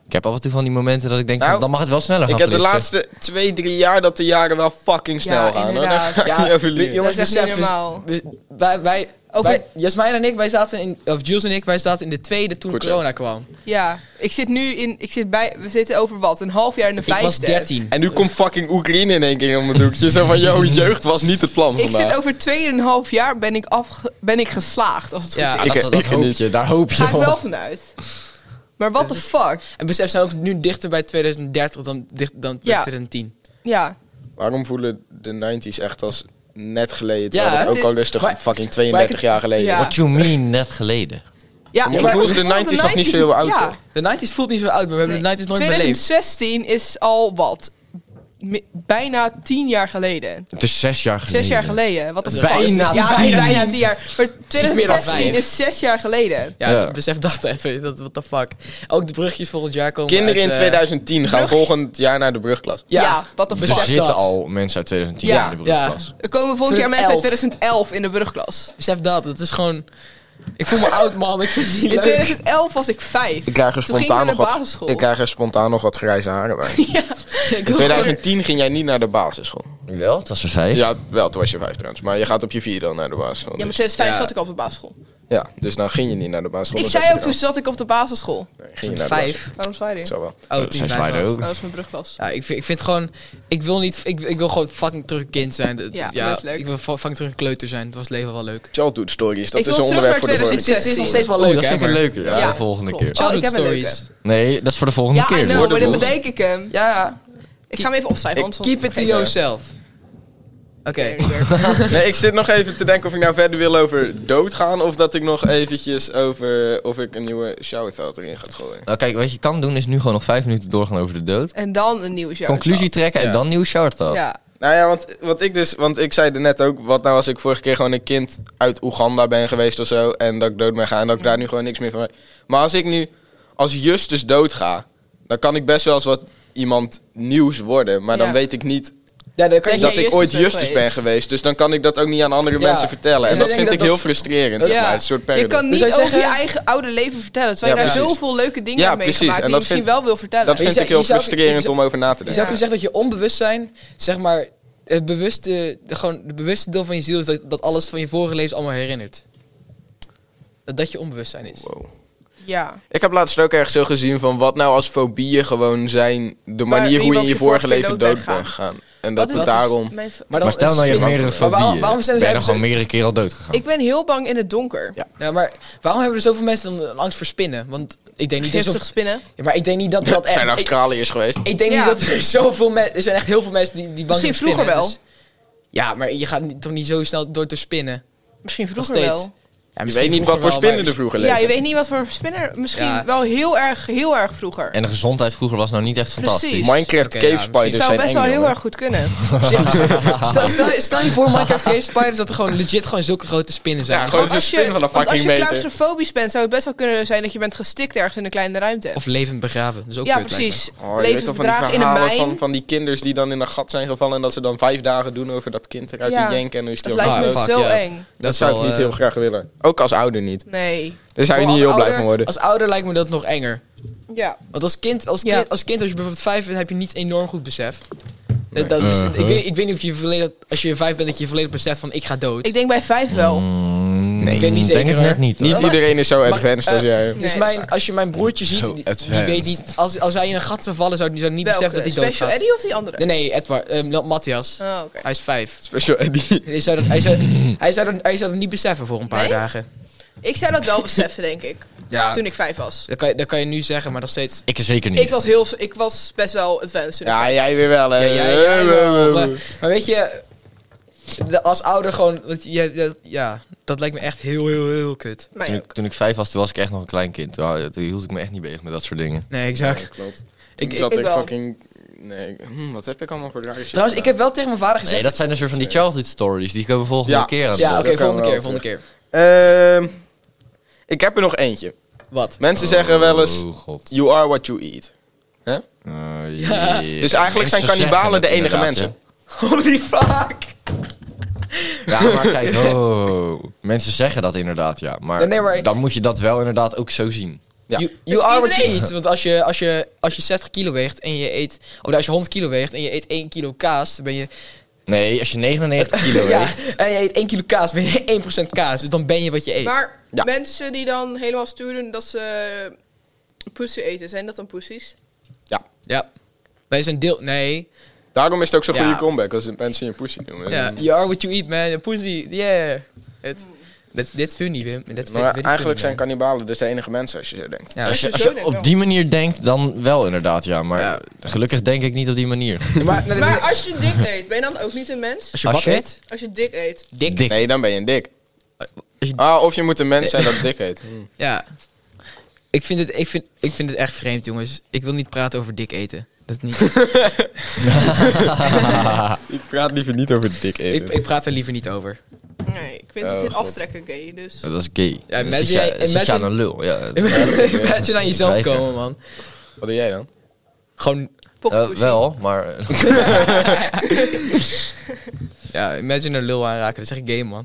Speaker 5: ik heb af en toe van die momenten dat ik denk,
Speaker 1: Nou,
Speaker 5: van, dan mag het wel sneller
Speaker 1: Ik
Speaker 5: gaan
Speaker 1: heb de
Speaker 5: flitsen.
Speaker 1: laatste twee, drie jaar dat de jaren wel fucking snel gaan. hoor. Daar
Speaker 2: inderdaad.
Speaker 1: ga ik niet over liegen.
Speaker 3: jongens,
Speaker 2: Dat is echt niet
Speaker 3: besef eens,
Speaker 2: normaal.
Speaker 3: we- wij, wij,
Speaker 2: Over-
Speaker 3: wij- Jasmijn en ik, wij zaten in, of Jules en ik, wij zaten in de tweede toen
Speaker 1: Goed zo.
Speaker 3: corona kwam.
Speaker 2: Ja, ik zit nu in, ik zit bij, we zitten over wat, een half jaar in de
Speaker 3: Ik
Speaker 2: vijfde.
Speaker 3: was 13.
Speaker 1: En nu komt fucking Oekraïne in één keer om het hoekje. Zo van, jouw jeugd was niet het plan
Speaker 2: Ik
Speaker 1: vandaag.
Speaker 2: zit over 2,5 jaar ben ik, afge, ben ik geslaagd, als het
Speaker 3: Ja.
Speaker 2: goed is.
Speaker 5: Ah,
Speaker 1: Ik-
Speaker 5: dat, dat
Speaker 1: ik
Speaker 5: hoop
Speaker 1: niet.
Speaker 5: je, daar hoop je
Speaker 2: Ga ik
Speaker 5: op.
Speaker 2: wel vanuit. Maar what the fuck?
Speaker 3: En besef, we zijn ook nu dichter bij 2030 dan, dicht- dan bij
Speaker 2: Ja.
Speaker 3: 2010.
Speaker 2: Ja,
Speaker 1: Waarom voelen de 90s echt als net geleden?
Speaker 3: Ja,
Speaker 1: Terwijl het
Speaker 3: het
Speaker 1: ook al
Speaker 3: is-
Speaker 1: rustig
Speaker 3: maar-
Speaker 1: fucking 32 jaar geleden
Speaker 2: Ja.
Speaker 1: is.
Speaker 5: What you mean, net geleden.
Speaker 2: ja
Speaker 1: Mijn gevoel is de 90s nog niet zo heel oud,
Speaker 2: Ja.
Speaker 1: hoor.
Speaker 3: De 90s voelt niet zo oud, maar we hebben
Speaker 2: Nee.
Speaker 3: de 90s nooit beleefd.
Speaker 2: 2016 is al wat, mi- bijna 10 jaar geleden.
Speaker 5: Het is zes jaar geleden.
Speaker 2: Zes jaar geleden. Wat een
Speaker 5: Bijna
Speaker 2: fuck.
Speaker 5: tien.
Speaker 2: ja, bijna, bijna tien jaar. Maar
Speaker 3: meer dan
Speaker 2: 2016
Speaker 3: vijf.
Speaker 2: is zes jaar geleden.
Speaker 3: Ja,
Speaker 5: Ja.
Speaker 3: besef dat even. Dat, what the fuck. Ook de brugjes volgend jaar komen
Speaker 1: Kinderen
Speaker 3: uit,
Speaker 1: in
Speaker 3: eh,
Speaker 1: 2010 gaan
Speaker 2: brug-
Speaker 1: volgend jaar naar de brugklas.
Speaker 2: Ja,
Speaker 3: Ja,
Speaker 2: wat de
Speaker 5: Er
Speaker 2: fuck.
Speaker 3: Besef
Speaker 5: zitten
Speaker 3: dat.
Speaker 5: al mensen uit 2010
Speaker 2: Ja,
Speaker 5: in de
Speaker 3: ja.
Speaker 5: brugklas.
Speaker 2: Er komen volgend jaar mensen uit 2011 in de brugklas.
Speaker 3: Besef dat. Het is gewoon... Ik voel me oud, man. Ik vind het niet
Speaker 2: In
Speaker 3: leuk.
Speaker 2: 2011 was ik vijf.
Speaker 1: Ik krijg, er
Speaker 2: Toen gingen we
Speaker 1: spontaan nog
Speaker 2: naar
Speaker 1: wat,
Speaker 2: basisschool.
Speaker 1: ik krijg er spontaan nog wat grijze haren bij.
Speaker 2: Ja.
Speaker 1: In 2010 ging jij niet naar de basisschool.
Speaker 5: Wel, het was er vijf.
Speaker 1: Ja, wel, toen was je vijf trouwens. Maar je gaat op je vier dan naar de basisschool.
Speaker 2: Ja, maar
Speaker 1: dus-
Speaker 2: 2005
Speaker 3: Ja.
Speaker 2: zat ik al op de basisschool.
Speaker 1: Ja, dus dan ging je niet naar de basisschool.
Speaker 2: Ik
Speaker 1: dan
Speaker 2: zei ook,
Speaker 1: zat je
Speaker 2: toen zat ik op de basisschool.
Speaker 1: dan- Nee, ging je naar de basisschool.
Speaker 3: Vijf.
Speaker 2: Waarom zei je?
Speaker 1: Dat zou wel.
Speaker 3: Oh,
Speaker 5: Zij
Speaker 3: tien, vijf
Speaker 5: zwaaiden
Speaker 3: was.
Speaker 5: ook.
Speaker 2: Dat was mijn brugklas.
Speaker 3: Ja, ik vind, ik vind gewoon... Ik wil niet... Ik, ik wil gewoon fucking terug een kind zijn. Dat-
Speaker 2: Ja, dat is leuk.
Speaker 3: Ik wil fu- fucking terug een kleuter zijn. Het was het leven wel leuk.
Speaker 1: Childhood stories, dat
Speaker 2: Ik
Speaker 1: is
Speaker 2: wil
Speaker 1: een
Speaker 2: terug
Speaker 1: onderwerp voor
Speaker 2: naar
Speaker 1: de vorige
Speaker 3: Het is, het is nog steeds wel
Speaker 5: Oh,
Speaker 3: leuk,
Speaker 5: dat
Speaker 3: hè,
Speaker 5: vind ik een
Speaker 3: maar-
Speaker 5: leuke. Ja,
Speaker 2: Ja,
Speaker 5: de volgende
Speaker 2: klopt.
Speaker 5: keer.
Speaker 2: Oh, ik
Speaker 3: Childhood
Speaker 2: heb een
Speaker 3: stories.
Speaker 5: Nee, dat is voor de volgende
Speaker 2: Ja,
Speaker 5: keer.
Speaker 2: I know,
Speaker 5: Voor de
Speaker 2: maar dan
Speaker 5: volgende.
Speaker 2: bedenk ik hem.
Speaker 3: Ja,
Speaker 2: Ik ga hem even opschrijven, anders
Speaker 3: keep it to yourself. Oké.
Speaker 1: Nee, ik zit nog even te denken of ik nou verder wil over doodgaan... of dat ik nog eventjes over of ik een nieuwe shower thought erin ga gooien.
Speaker 5: Nou, kijk, wat je kan doen is nu gewoon nog vijf minuten doorgaan over de dood.
Speaker 2: En dan een nieuw jaar.
Speaker 5: Conclusie trekken en
Speaker 3: Ja.
Speaker 5: dan nieuw shout out.
Speaker 2: Ja.
Speaker 1: Nou ja, want wat ik dus, want ik zei er net ook, wat nou als ik vorige keer gewoon een kind uit Oeganda ben geweest of zo en dat ik dood ben gaan en dat ik daar nu gewoon niks meer van weet. Maar als ik nu als Justus dood ga, dan kan ik best wel eens wat iemand nieuws worden, maar
Speaker 2: Ja.
Speaker 1: dan weet ik niet
Speaker 3: Ja, dan
Speaker 2: kan
Speaker 3: kan
Speaker 2: je-
Speaker 3: je...
Speaker 2: jij
Speaker 1: dat ik
Speaker 2: Justus
Speaker 1: ooit
Speaker 2: bent
Speaker 1: Justus
Speaker 2: geweest?
Speaker 1: ben geweest, dus dan kan ik dat ook niet aan andere
Speaker 3: Ja.
Speaker 1: mensen vertellen en
Speaker 3: Dus
Speaker 1: dat
Speaker 3: ik denk
Speaker 1: vind
Speaker 3: dat
Speaker 1: ik heel
Speaker 3: dat-
Speaker 1: frustrerend, zeg
Speaker 2: Ja.
Speaker 1: maar, een soort
Speaker 2: Je
Speaker 1: paradox.
Speaker 2: kan niet
Speaker 3: Dus jij
Speaker 2: over
Speaker 3: zeggen-
Speaker 2: je eigen oude leven vertellen, terwijl je
Speaker 1: Ja,
Speaker 2: daar
Speaker 1: precies.
Speaker 2: zoveel leuke dingen
Speaker 1: Ja,
Speaker 2: hebt meegemaakt
Speaker 1: precies. En
Speaker 2: die je
Speaker 1: dat
Speaker 2: misschien
Speaker 1: vind-
Speaker 2: wel wil vertellen.
Speaker 1: Dat
Speaker 3: je
Speaker 1: vind
Speaker 3: zou-
Speaker 1: ik heel
Speaker 3: je zou- je
Speaker 1: frustrerend
Speaker 3: zou-
Speaker 1: om over na te
Speaker 3: Je
Speaker 1: denken.
Speaker 3: zou kunnen zeggen dat je onbewustzijn, zeg maar... Het bewuste, de- gewoon, het bewuste deel van je ziel is dat, dat alles van je vorige leven allemaal herinnert. Dat dat je onbewustzijn is.
Speaker 1: Wow.
Speaker 2: Ja.
Speaker 1: Ik heb laatst ook ergens zo gezien van wat nou als fobieën gewoon zijn de
Speaker 2: Waar-
Speaker 1: manier hoe je in je vorige
Speaker 2: keer
Speaker 1: leven
Speaker 2: dood bent
Speaker 1: dood bent gegaan. En dat
Speaker 3: Wat
Speaker 1: het
Speaker 3: is-
Speaker 1: daarom...
Speaker 2: Mijn v-
Speaker 3: dan
Speaker 5: Maar stel
Speaker 3: is
Speaker 5: nou je hebt
Speaker 3: slim-
Speaker 5: meerdere
Speaker 3: Maar waarom-
Speaker 5: fobieën.
Speaker 3: waarom zijn er
Speaker 5: ben je
Speaker 3: zo-
Speaker 5: dan gewoon meerdere keren al dood gegaan?
Speaker 2: ik ben heel bang in het donker.
Speaker 1: Ja.
Speaker 3: Ja, maar waarom hebben er zoveel mensen dan een angst voor spinnen? Want ik denk niet, dat
Speaker 2: Giftig
Speaker 3: zo-
Speaker 2: spinnen.
Speaker 3: ja, maar ik denk niet dat dat
Speaker 1: zijn
Speaker 3: echt... Ik,
Speaker 1: Australiërs geweest.
Speaker 3: ik denk
Speaker 2: Ja.
Speaker 3: niet dat er zoveel mensen... Er zijn echt heel veel mensen die, die bang
Speaker 2: Misschien
Speaker 3: zijn voor spinnen,
Speaker 2: vroeger wel.
Speaker 3: dus- ja, maar je gaat niet- toch niet zo snel door te spinnen.
Speaker 2: Misschien vroeger
Speaker 3: steeds.
Speaker 2: wel.
Speaker 3: Ja,
Speaker 1: Je weet niet wat voor spinnen er vroeger leven.
Speaker 2: Ja, je weet niet wat voor spinner. Misschien
Speaker 3: Ja.
Speaker 2: wel heel erg, heel erg vroeger.
Speaker 5: En de gezondheid vroeger was nou niet echt
Speaker 2: Precies.
Speaker 5: fantastisch.
Speaker 1: Minecraft
Speaker 3: Oké,
Speaker 1: Cave
Speaker 3: ja,
Speaker 1: Spiders
Speaker 2: zou
Speaker 1: dus zijn
Speaker 2: best
Speaker 1: eng,
Speaker 2: wel heel
Speaker 1: jongen.
Speaker 2: erg goed kunnen.
Speaker 3: stel, stel, stel je voor Minecraft Cave Spiders dat er gewoon legit gewoon zulke grote spinnen zijn.
Speaker 1: Ja, gewoon
Speaker 2: Want
Speaker 1: zo'n
Speaker 2: als je,
Speaker 1: spin van een
Speaker 2: want als
Speaker 1: fucking
Speaker 2: je
Speaker 1: meter.
Speaker 2: claustrofobisch bent, zou het best wel kunnen zijn dat je bent gestikt ergens in een kleine ruimte.
Speaker 3: Of levend begraven. Dat is ook
Speaker 2: ja,
Speaker 3: kut, lijkt me.
Speaker 2: precies.
Speaker 1: Oh, je weet
Speaker 2: Leven
Speaker 1: toch van die
Speaker 2: verdragen in een
Speaker 1: verhalen
Speaker 2: mijn.
Speaker 1: van, van die kinders die dan in een gat zijn gevallen... en dat ze dan vijf dagen doen over dat kind eruit
Speaker 2: Ja.
Speaker 1: te janken... en dan is die
Speaker 2: dat
Speaker 1: al
Speaker 2: lijkt me
Speaker 1: dood.
Speaker 3: fuck,
Speaker 2: zo
Speaker 3: ja.
Speaker 2: eng.
Speaker 1: Dat
Speaker 3: is
Speaker 1: zou ik
Speaker 3: wel,
Speaker 1: niet
Speaker 3: eh,
Speaker 1: heel graag willen. Ook als ouder niet.
Speaker 2: Nee.
Speaker 1: Daar zou je
Speaker 3: maar
Speaker 1: niet
Speaker 3: als
Speaker 1: heel blij
Speaker 3: ouder-
Speaker 1: van worden.
Speaker 3: Als ouder lijkt me dat nog enger.
Speaker 2: Ja.
Speaker 3: Want als kind, als
Speaker 2: Ja.
Speaker 3: kind, als, kind als je bijvoorbeeld vijf bent, heb je niet enorm goed besef.
Speaker 1: Nee.
Speaker 3: Dat is-
Speaker 5: Uh-huh.
Speaker 3: ik, weet, ik weet niet of je volledig, als je vijf bent, dat je volledig beseft van ik ga dood.
Speaker 2: Ik denk bij vijf wel.
Speaker 1: Hmm.
Speaker 5: Nee,
Speaker 3: Ik weet niet
Speaker 5: Mm, denk
Speaker 3: zeker,
Speaker 5: het net
Speaker 3: hoor.
Speaker 5: niet. hoor.
Speaker 1: Niet
Speaker 3: Maar-
Speaker 1: iedereen is zo
Speaker 3: maar,
Speaker 1: advanced
Speaker 3: eh,
Speaker 1: als jij.
Speaker 2: Nee,
Speaker 3: dus
Speaker 2: dat is
Speaker 3: mijn,
Speaker 2: waar.
Speaker 3: als je mijn broertje ziet,
Speaker 5: Zo
Speaker 3: die, die
Speaker 5: advanced.
Speaker 3: weet niet, als, als hij in een gat zou vallen, zou die zou niet
Speaker 2: Welke?
Speaker 3: beseffen dat hij dood
Speaker 2: eh, Special
Speaker 3: gaat.
Speaker 2: Eddie of die andere?
Speaker 3: Nee, nee, Edward, ehm, Matthias.
Speaker 2: Oh, oké.
Speaker 3: Hij is vijf.
Speaker 1: Special Eddie.
Speaker 3: Hij zou, dat, hij, zou, hij, zou dat, hij zou dat niet beseffen voor een paar
Speaker 2: Nee?
Speaker 3: dagen.
Speaker 2: Ik zou dat wel beseffen, denk ik.
Speaker 3: Ja.
Speaker 2: Toen ik vijf was.
Speaker 3: Dat kan, je- dat kan je nu zeggen, maar nog steeds.
Speaker 5: Ik zeker
Speaker 2: Ik
Speaker 5: niet.
Speaker 2: was, heel, ik was best wel advanced. toen ik
Speaker 1: Ja, jij weer wel, hè.
Speaker 3: Ja, ja, ja, ja,
Speaker 1: Eh,
Speaker 3: maar, maar weet je, de- als ouder gewoon. want je- dat- ja, dat lijkt me echt heel, heel, heel kut.
Speaker 2: vijf-
Speaker 5: Toen
Speaker 2: Mij ook.
Speaker 5: ik, toen ik vijf was, toen was ik echt nog een klein kind. Toen, toen hield ik me echt niet bezig met dat soort dingen.
Speaker 3: Nee, exact.
Speaker 1: Klopt.
Speaker 3: Ik,
Speaker 1: Ik
Speaker 3: ik-
Speaker 1: zat
Speaker 2: ik
Speaker 1: ik
Speaker 2: wel.
Speaker 1: fucking... Nee, ik- hm, wat heb ik allemaal voor rare shit
Speaker 3: trouwens, ik
Speaker 1: gedaan?
Speaker 3: heb wel tegen mijn vader gezegd.
Speaker 5: Nee, dat zijn dus weer van die childhood stories. Die komen volgende
Speaker 1: Ja.
Speaker 5: keer aan.
Speaker 3: ja,
Speaker 5: bod.
Speaker 3: oké,
Speaker 1: dat kan
Speaker 3: volgende
Speaker 1: wel
Speaker 3: keer, volgende keer.
Speaker 1: Ehm, ik heb er nog eentje.
Speaker 3: Wat?
Speaker 1: Mensen zeggen wel eens,
Speaker 5: Oh, god.
Speaker 1: you are what you eat.
Speaker 5: Eh,
Speaker 3: Ja.
Speaker 5: ja.
Speaker 1: Dus eigenlijk zijn
Speaker 5: Mensen zeggen
Speaker 1: kannibalen de
Speaker 5: het
Speaker 1: enige
Speaker 5: inderdaad,
Speaker 1: mensen.
Speaker 3: Holy fuck!
Speaker 5: hè. Ja, maar kijk, oh. mensen zeggen dat inderdaad, ja. Maar,
Speaker 3: Nee, nee, maar-
Speaker 5: dan moet je dat wel inderdaad ook zo zien.
Speaker 1: Ja.
Speaker 3: You, you
Speaker 2: Dus
Speaker 3: are what you
Speaker 2: iedereen-
Speaker 3: eat. Want als je, als, je, als je 60 kilo weegt en je eet. Of als je 100 kilo weegt en je eet 1 kilo kaas, dan ben je.
Speaker 5: Nee, als je 99 kilo
Speaker 3: ja,
Speaker 5: weegt...
Speaker 3: en je eet 1 kilo kaas, ben je 1% kaas. Dus dan ben je wat je eet.
Speaker 2: Maar
Speaker 1: Ja.
Speaker 2: mensen die dan helemaal sturen dat ze poesie eten, zijn dat dan poesies?
Speaker 3: Ja. Wij zijn deel. Nee.
Speaker 1: Daarom is het ook zo'n
Speaker 3: Ja.
Speaker 1: goede comeback als mensen je pussy noemen.
Speaker 3: Ja, you are what you eat, man. Pussy, yeah. Het- dat- Dit is funny, Wim. Dat vind-
Speaker 1: Maar
Speaker 3: dit is
Speaker 1: eigenlijk
Speaker 3: funny,
Speaker 1: zijn kannibalen dus de enige mensen als je zo denkt.
Speaker 3: man. Ja.
Speaker 5: Als
Speaker 2: Als
Speaker 5: je,
Speaker 2: je
Speaker 5: als
Speaker 2: zo
Speaker 5: je
Speaker 2: denkt wel.
Speaker 5: op die manier denkt, dan wel inderdaad, ja. Maar
Speaker 3: Ja.
Speaker 5: gelukkig denk ik niet op die manier.
Speaker 1: Nou,
Speaker 3: Maar, maar,
Speaker 2: Maar als je dik eet, ben je dan ook niet een mens?
Speaker 3: als je
Speaker 5: Als
Speaker 3: wat
Speaker 5: je-
Speaker 3: eet?
Speaker 2: Als je dik eet.
Speaker 5: Dik.
Speaker 1: Nee, dan ben je een dik.
Speaker 3: Eh, je-
Speaker 1: Ah, of je moet een mens zijn dat dik heet.
Speaker 3: Ja. Ik vind, het, ik, vind, ik vind het echt vreemd, jongens. Ik wil niet praten over dik eten. Dat is niet,
Speaker 1: Ik praat liever niet over dik
Speaker 3: ik,
Speaker 1: eten.
Speaker 3: ik praat er liever niet over.
Speaker 2: Nee, ik vind
Speaker 1: Oh,
Speaker 2: het geen
Speaker 1: God.
Speaker 2: aftrekken gay,
Speaker 3: Eh,
Speaker 2: dus...
Speaker 5: Dat is gay.
Speaker 3: Ja,
Speaker 5: Ja,
Speaker 3: imagine-
Speaker 5: dat is ja- dat is
Speaker 3: imagine-
Speaker 5: ja een lul. Ja. Eh,
Speaker 3: Laat je naar jezelf
Speaker 5: Dreiger.
Speaker 3: komen, man.
Speaker 1: Wat doe jij dan?
Speaker 3: Gewoon,
Speaker 5: Eh,
Speaker 2: Poppoesie.
Speaker 5: wel, maar...
Speaker 3: ja, imagine een lul aanraken. Dat is echt game, man.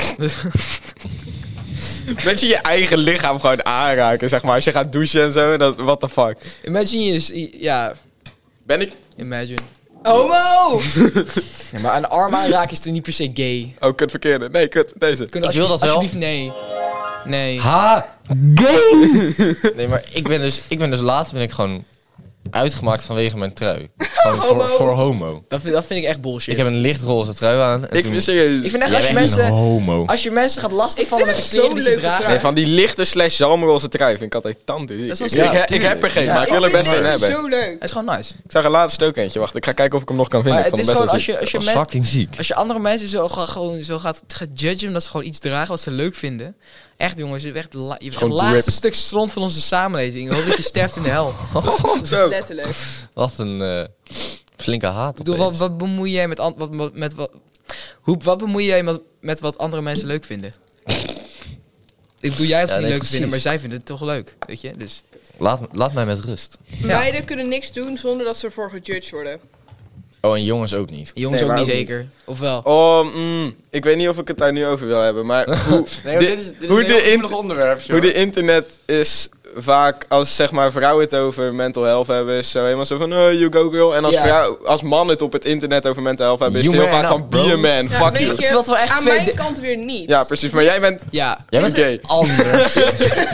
Speaker 1: Dat je je eigen lichaam gewoon aanraken, zeg maar. Als je gaat douchen en zo, dat, what the fuck.
Speaker 3: imagine je, ja,
Speaker 1: Ben ik...
Speaker 3: imagine.
Speaker 2: Homo!
Speaker 3: Ja, maar een arm aanraken is toch niet per se gay?
Speaker 1: Oh, kut verkeerde. Nee, kut, deze.
Speaker 3: Kun-
Speaker 5: Ik wil
Speaker 3: alsjeblieft-
Speaker 5: dat wel.
Speaker 3: Alsjeblieft, nee. Nee.
Speaker 5: Ha! Nee, maar ik ben dus, ik ben dus laatst ben ik gewoon uitgemaakt vanwege mijn trui. Gewoon
Speaker 2: Homo.
Speaker 5: voor, voor homo.
Speaker 3: Dat vind, dat vind ik echt bullshit.
Speaker 5: Ik heb een lichtroze trui aan. En
Speaker 1: Ik
Speaker 5: toen-
Speaker 1: vind serieus.
Speaker 3: Ik vind echt
Speaker 5: Jij
Speaker 3: als je,
Speaker 5: bent een
Speaker 3: mensen,
Speaker 5: homo.
Speaker 3: als je mensen gaat lastigvallen
Speaker 2: Ik
Speaker 3: met
Speaker 2: vind
Speaker 3: de
Speaker 2: het
Speaker 3: kleren die
Speaker 2: zo'n
Speaker 3: ze
Speaker 2: leuke
Speaker 3: dragen.
Speaker 1: Nee, van die lichte slash zalmroze trui vind ik altijd tand. Ik,
Speaker 3: is wel
Speaker 1: ik,
Speaker 3: sick.
Speaker 1: ik heb er geen,
Speaker 3: Ja,
Speaker 1: maar ik wil er
Speaker 2: vind
Speaker 1: best een
Speaker 2: deze
Speaker 1: hebben.
Speaker 2: zo leuk.
Speaker 3: Het is gewoon nice.
Speaker 1: Ik zag er laatst ook eentje. Wacht, ik ga kijken of ik hem nog kan vinden.
Speaker 3: Maar
Speaker 1: Ik
Speaker 3: het
Speaker 1: vond
Speaker 3: is
Speaker 1: hem
Speaker 3: gewoon
Speaker 1: best wel
Speaker 3: als
Speaker 1: ziek.
Speaker 3: je, als, je
Speaker 5: Dat was
Speaker 3: men-
Speaker 5: fucking ziek.
Speaker 3: als je andere mensen zo, ga- gewoon zo gaat, gaat judgen omdat ze gewoon iets dragen wat ze leuk vinden. Echt jongens, je bent echt la- je bent echt het
Speaker 1: gewoon
Speaker 3: laagste
Speaker 1: drip.
Speaker 3: stuk stront van onze samenleving. Ik hoop dat je sterft in de hel.
Speaker 1: Zo.
Speaker 2: Letterlijk.
Speaker 5: Wat een eh, flinke haat
Speaker 3: Ik bedoel, wat,
Speaker 5: opeens.
Speaker 3: wat bemoei jij met, an- wat, wat- met wat, hoe, wat bemoei jij met, met wat andere mensen leuk vinden? Ik bedoel, jij hoeft
Speaker 5: Ja,
Speaker 3: het niet
Speaker 5: nee,
Speaker 3: leuk te vinden,
Speaker 5: precies.
Speaker 3: maar zij vinden het toch leuk, weet je? Dus
Speaker 5: Laat, laat mij met rust.
Speaker 2: Meiden kunnen niks doen zonder dat ze ervoor gejudged worden.
Speaker 5: Oh, en jongens ook niet.
Speaker 3: jongens
Speaker 1: Nee,
Speaker 3: ook
Speaker 1: maar
Speaker 3: niet
Speaker 1: ook
Speaker 3: zeker. Of wel?
Speaker 1: Oh, mm, ik weet niet of ik het daar nu over wil hebben, maar hoe, de- hoe, de in-
Speaker 4: onderwerp,
Speaker 1: hoe de internet is vaak, als zeg maar vrouwen het over mental health hebben, is zo helemaal zo van, oh, you go girl. En als,
Speaker 3: Ja.
Speaker 1: vrouw, als man het op het internet over mental health hebben, is het
Speaker 5: You
Speaker 1: heel
Speaker 5: man
Speaker 1: vaak
Speaker 5: up,
Speaker 1: van,
Speaker 5: bro.
Speaker 1: be a man,
Speaker 2: Ja,
Speaker 1: fuck
Speaker 2: weet
Speaker 1: you.
Speaker 2: je,
Speaker 3: Het is wat we echt
Speaker 2: aan
Speaker 3: twee
Speaker 2: mijn
Speaker 3: de-
Speaker 2: kant weer niet.
Speaker 1: Ja, precies, maar jij bent
Speaker 3: Ja.
Speaker 5: Jij bent
Speaker 1: gay.
Speaker 5: anders.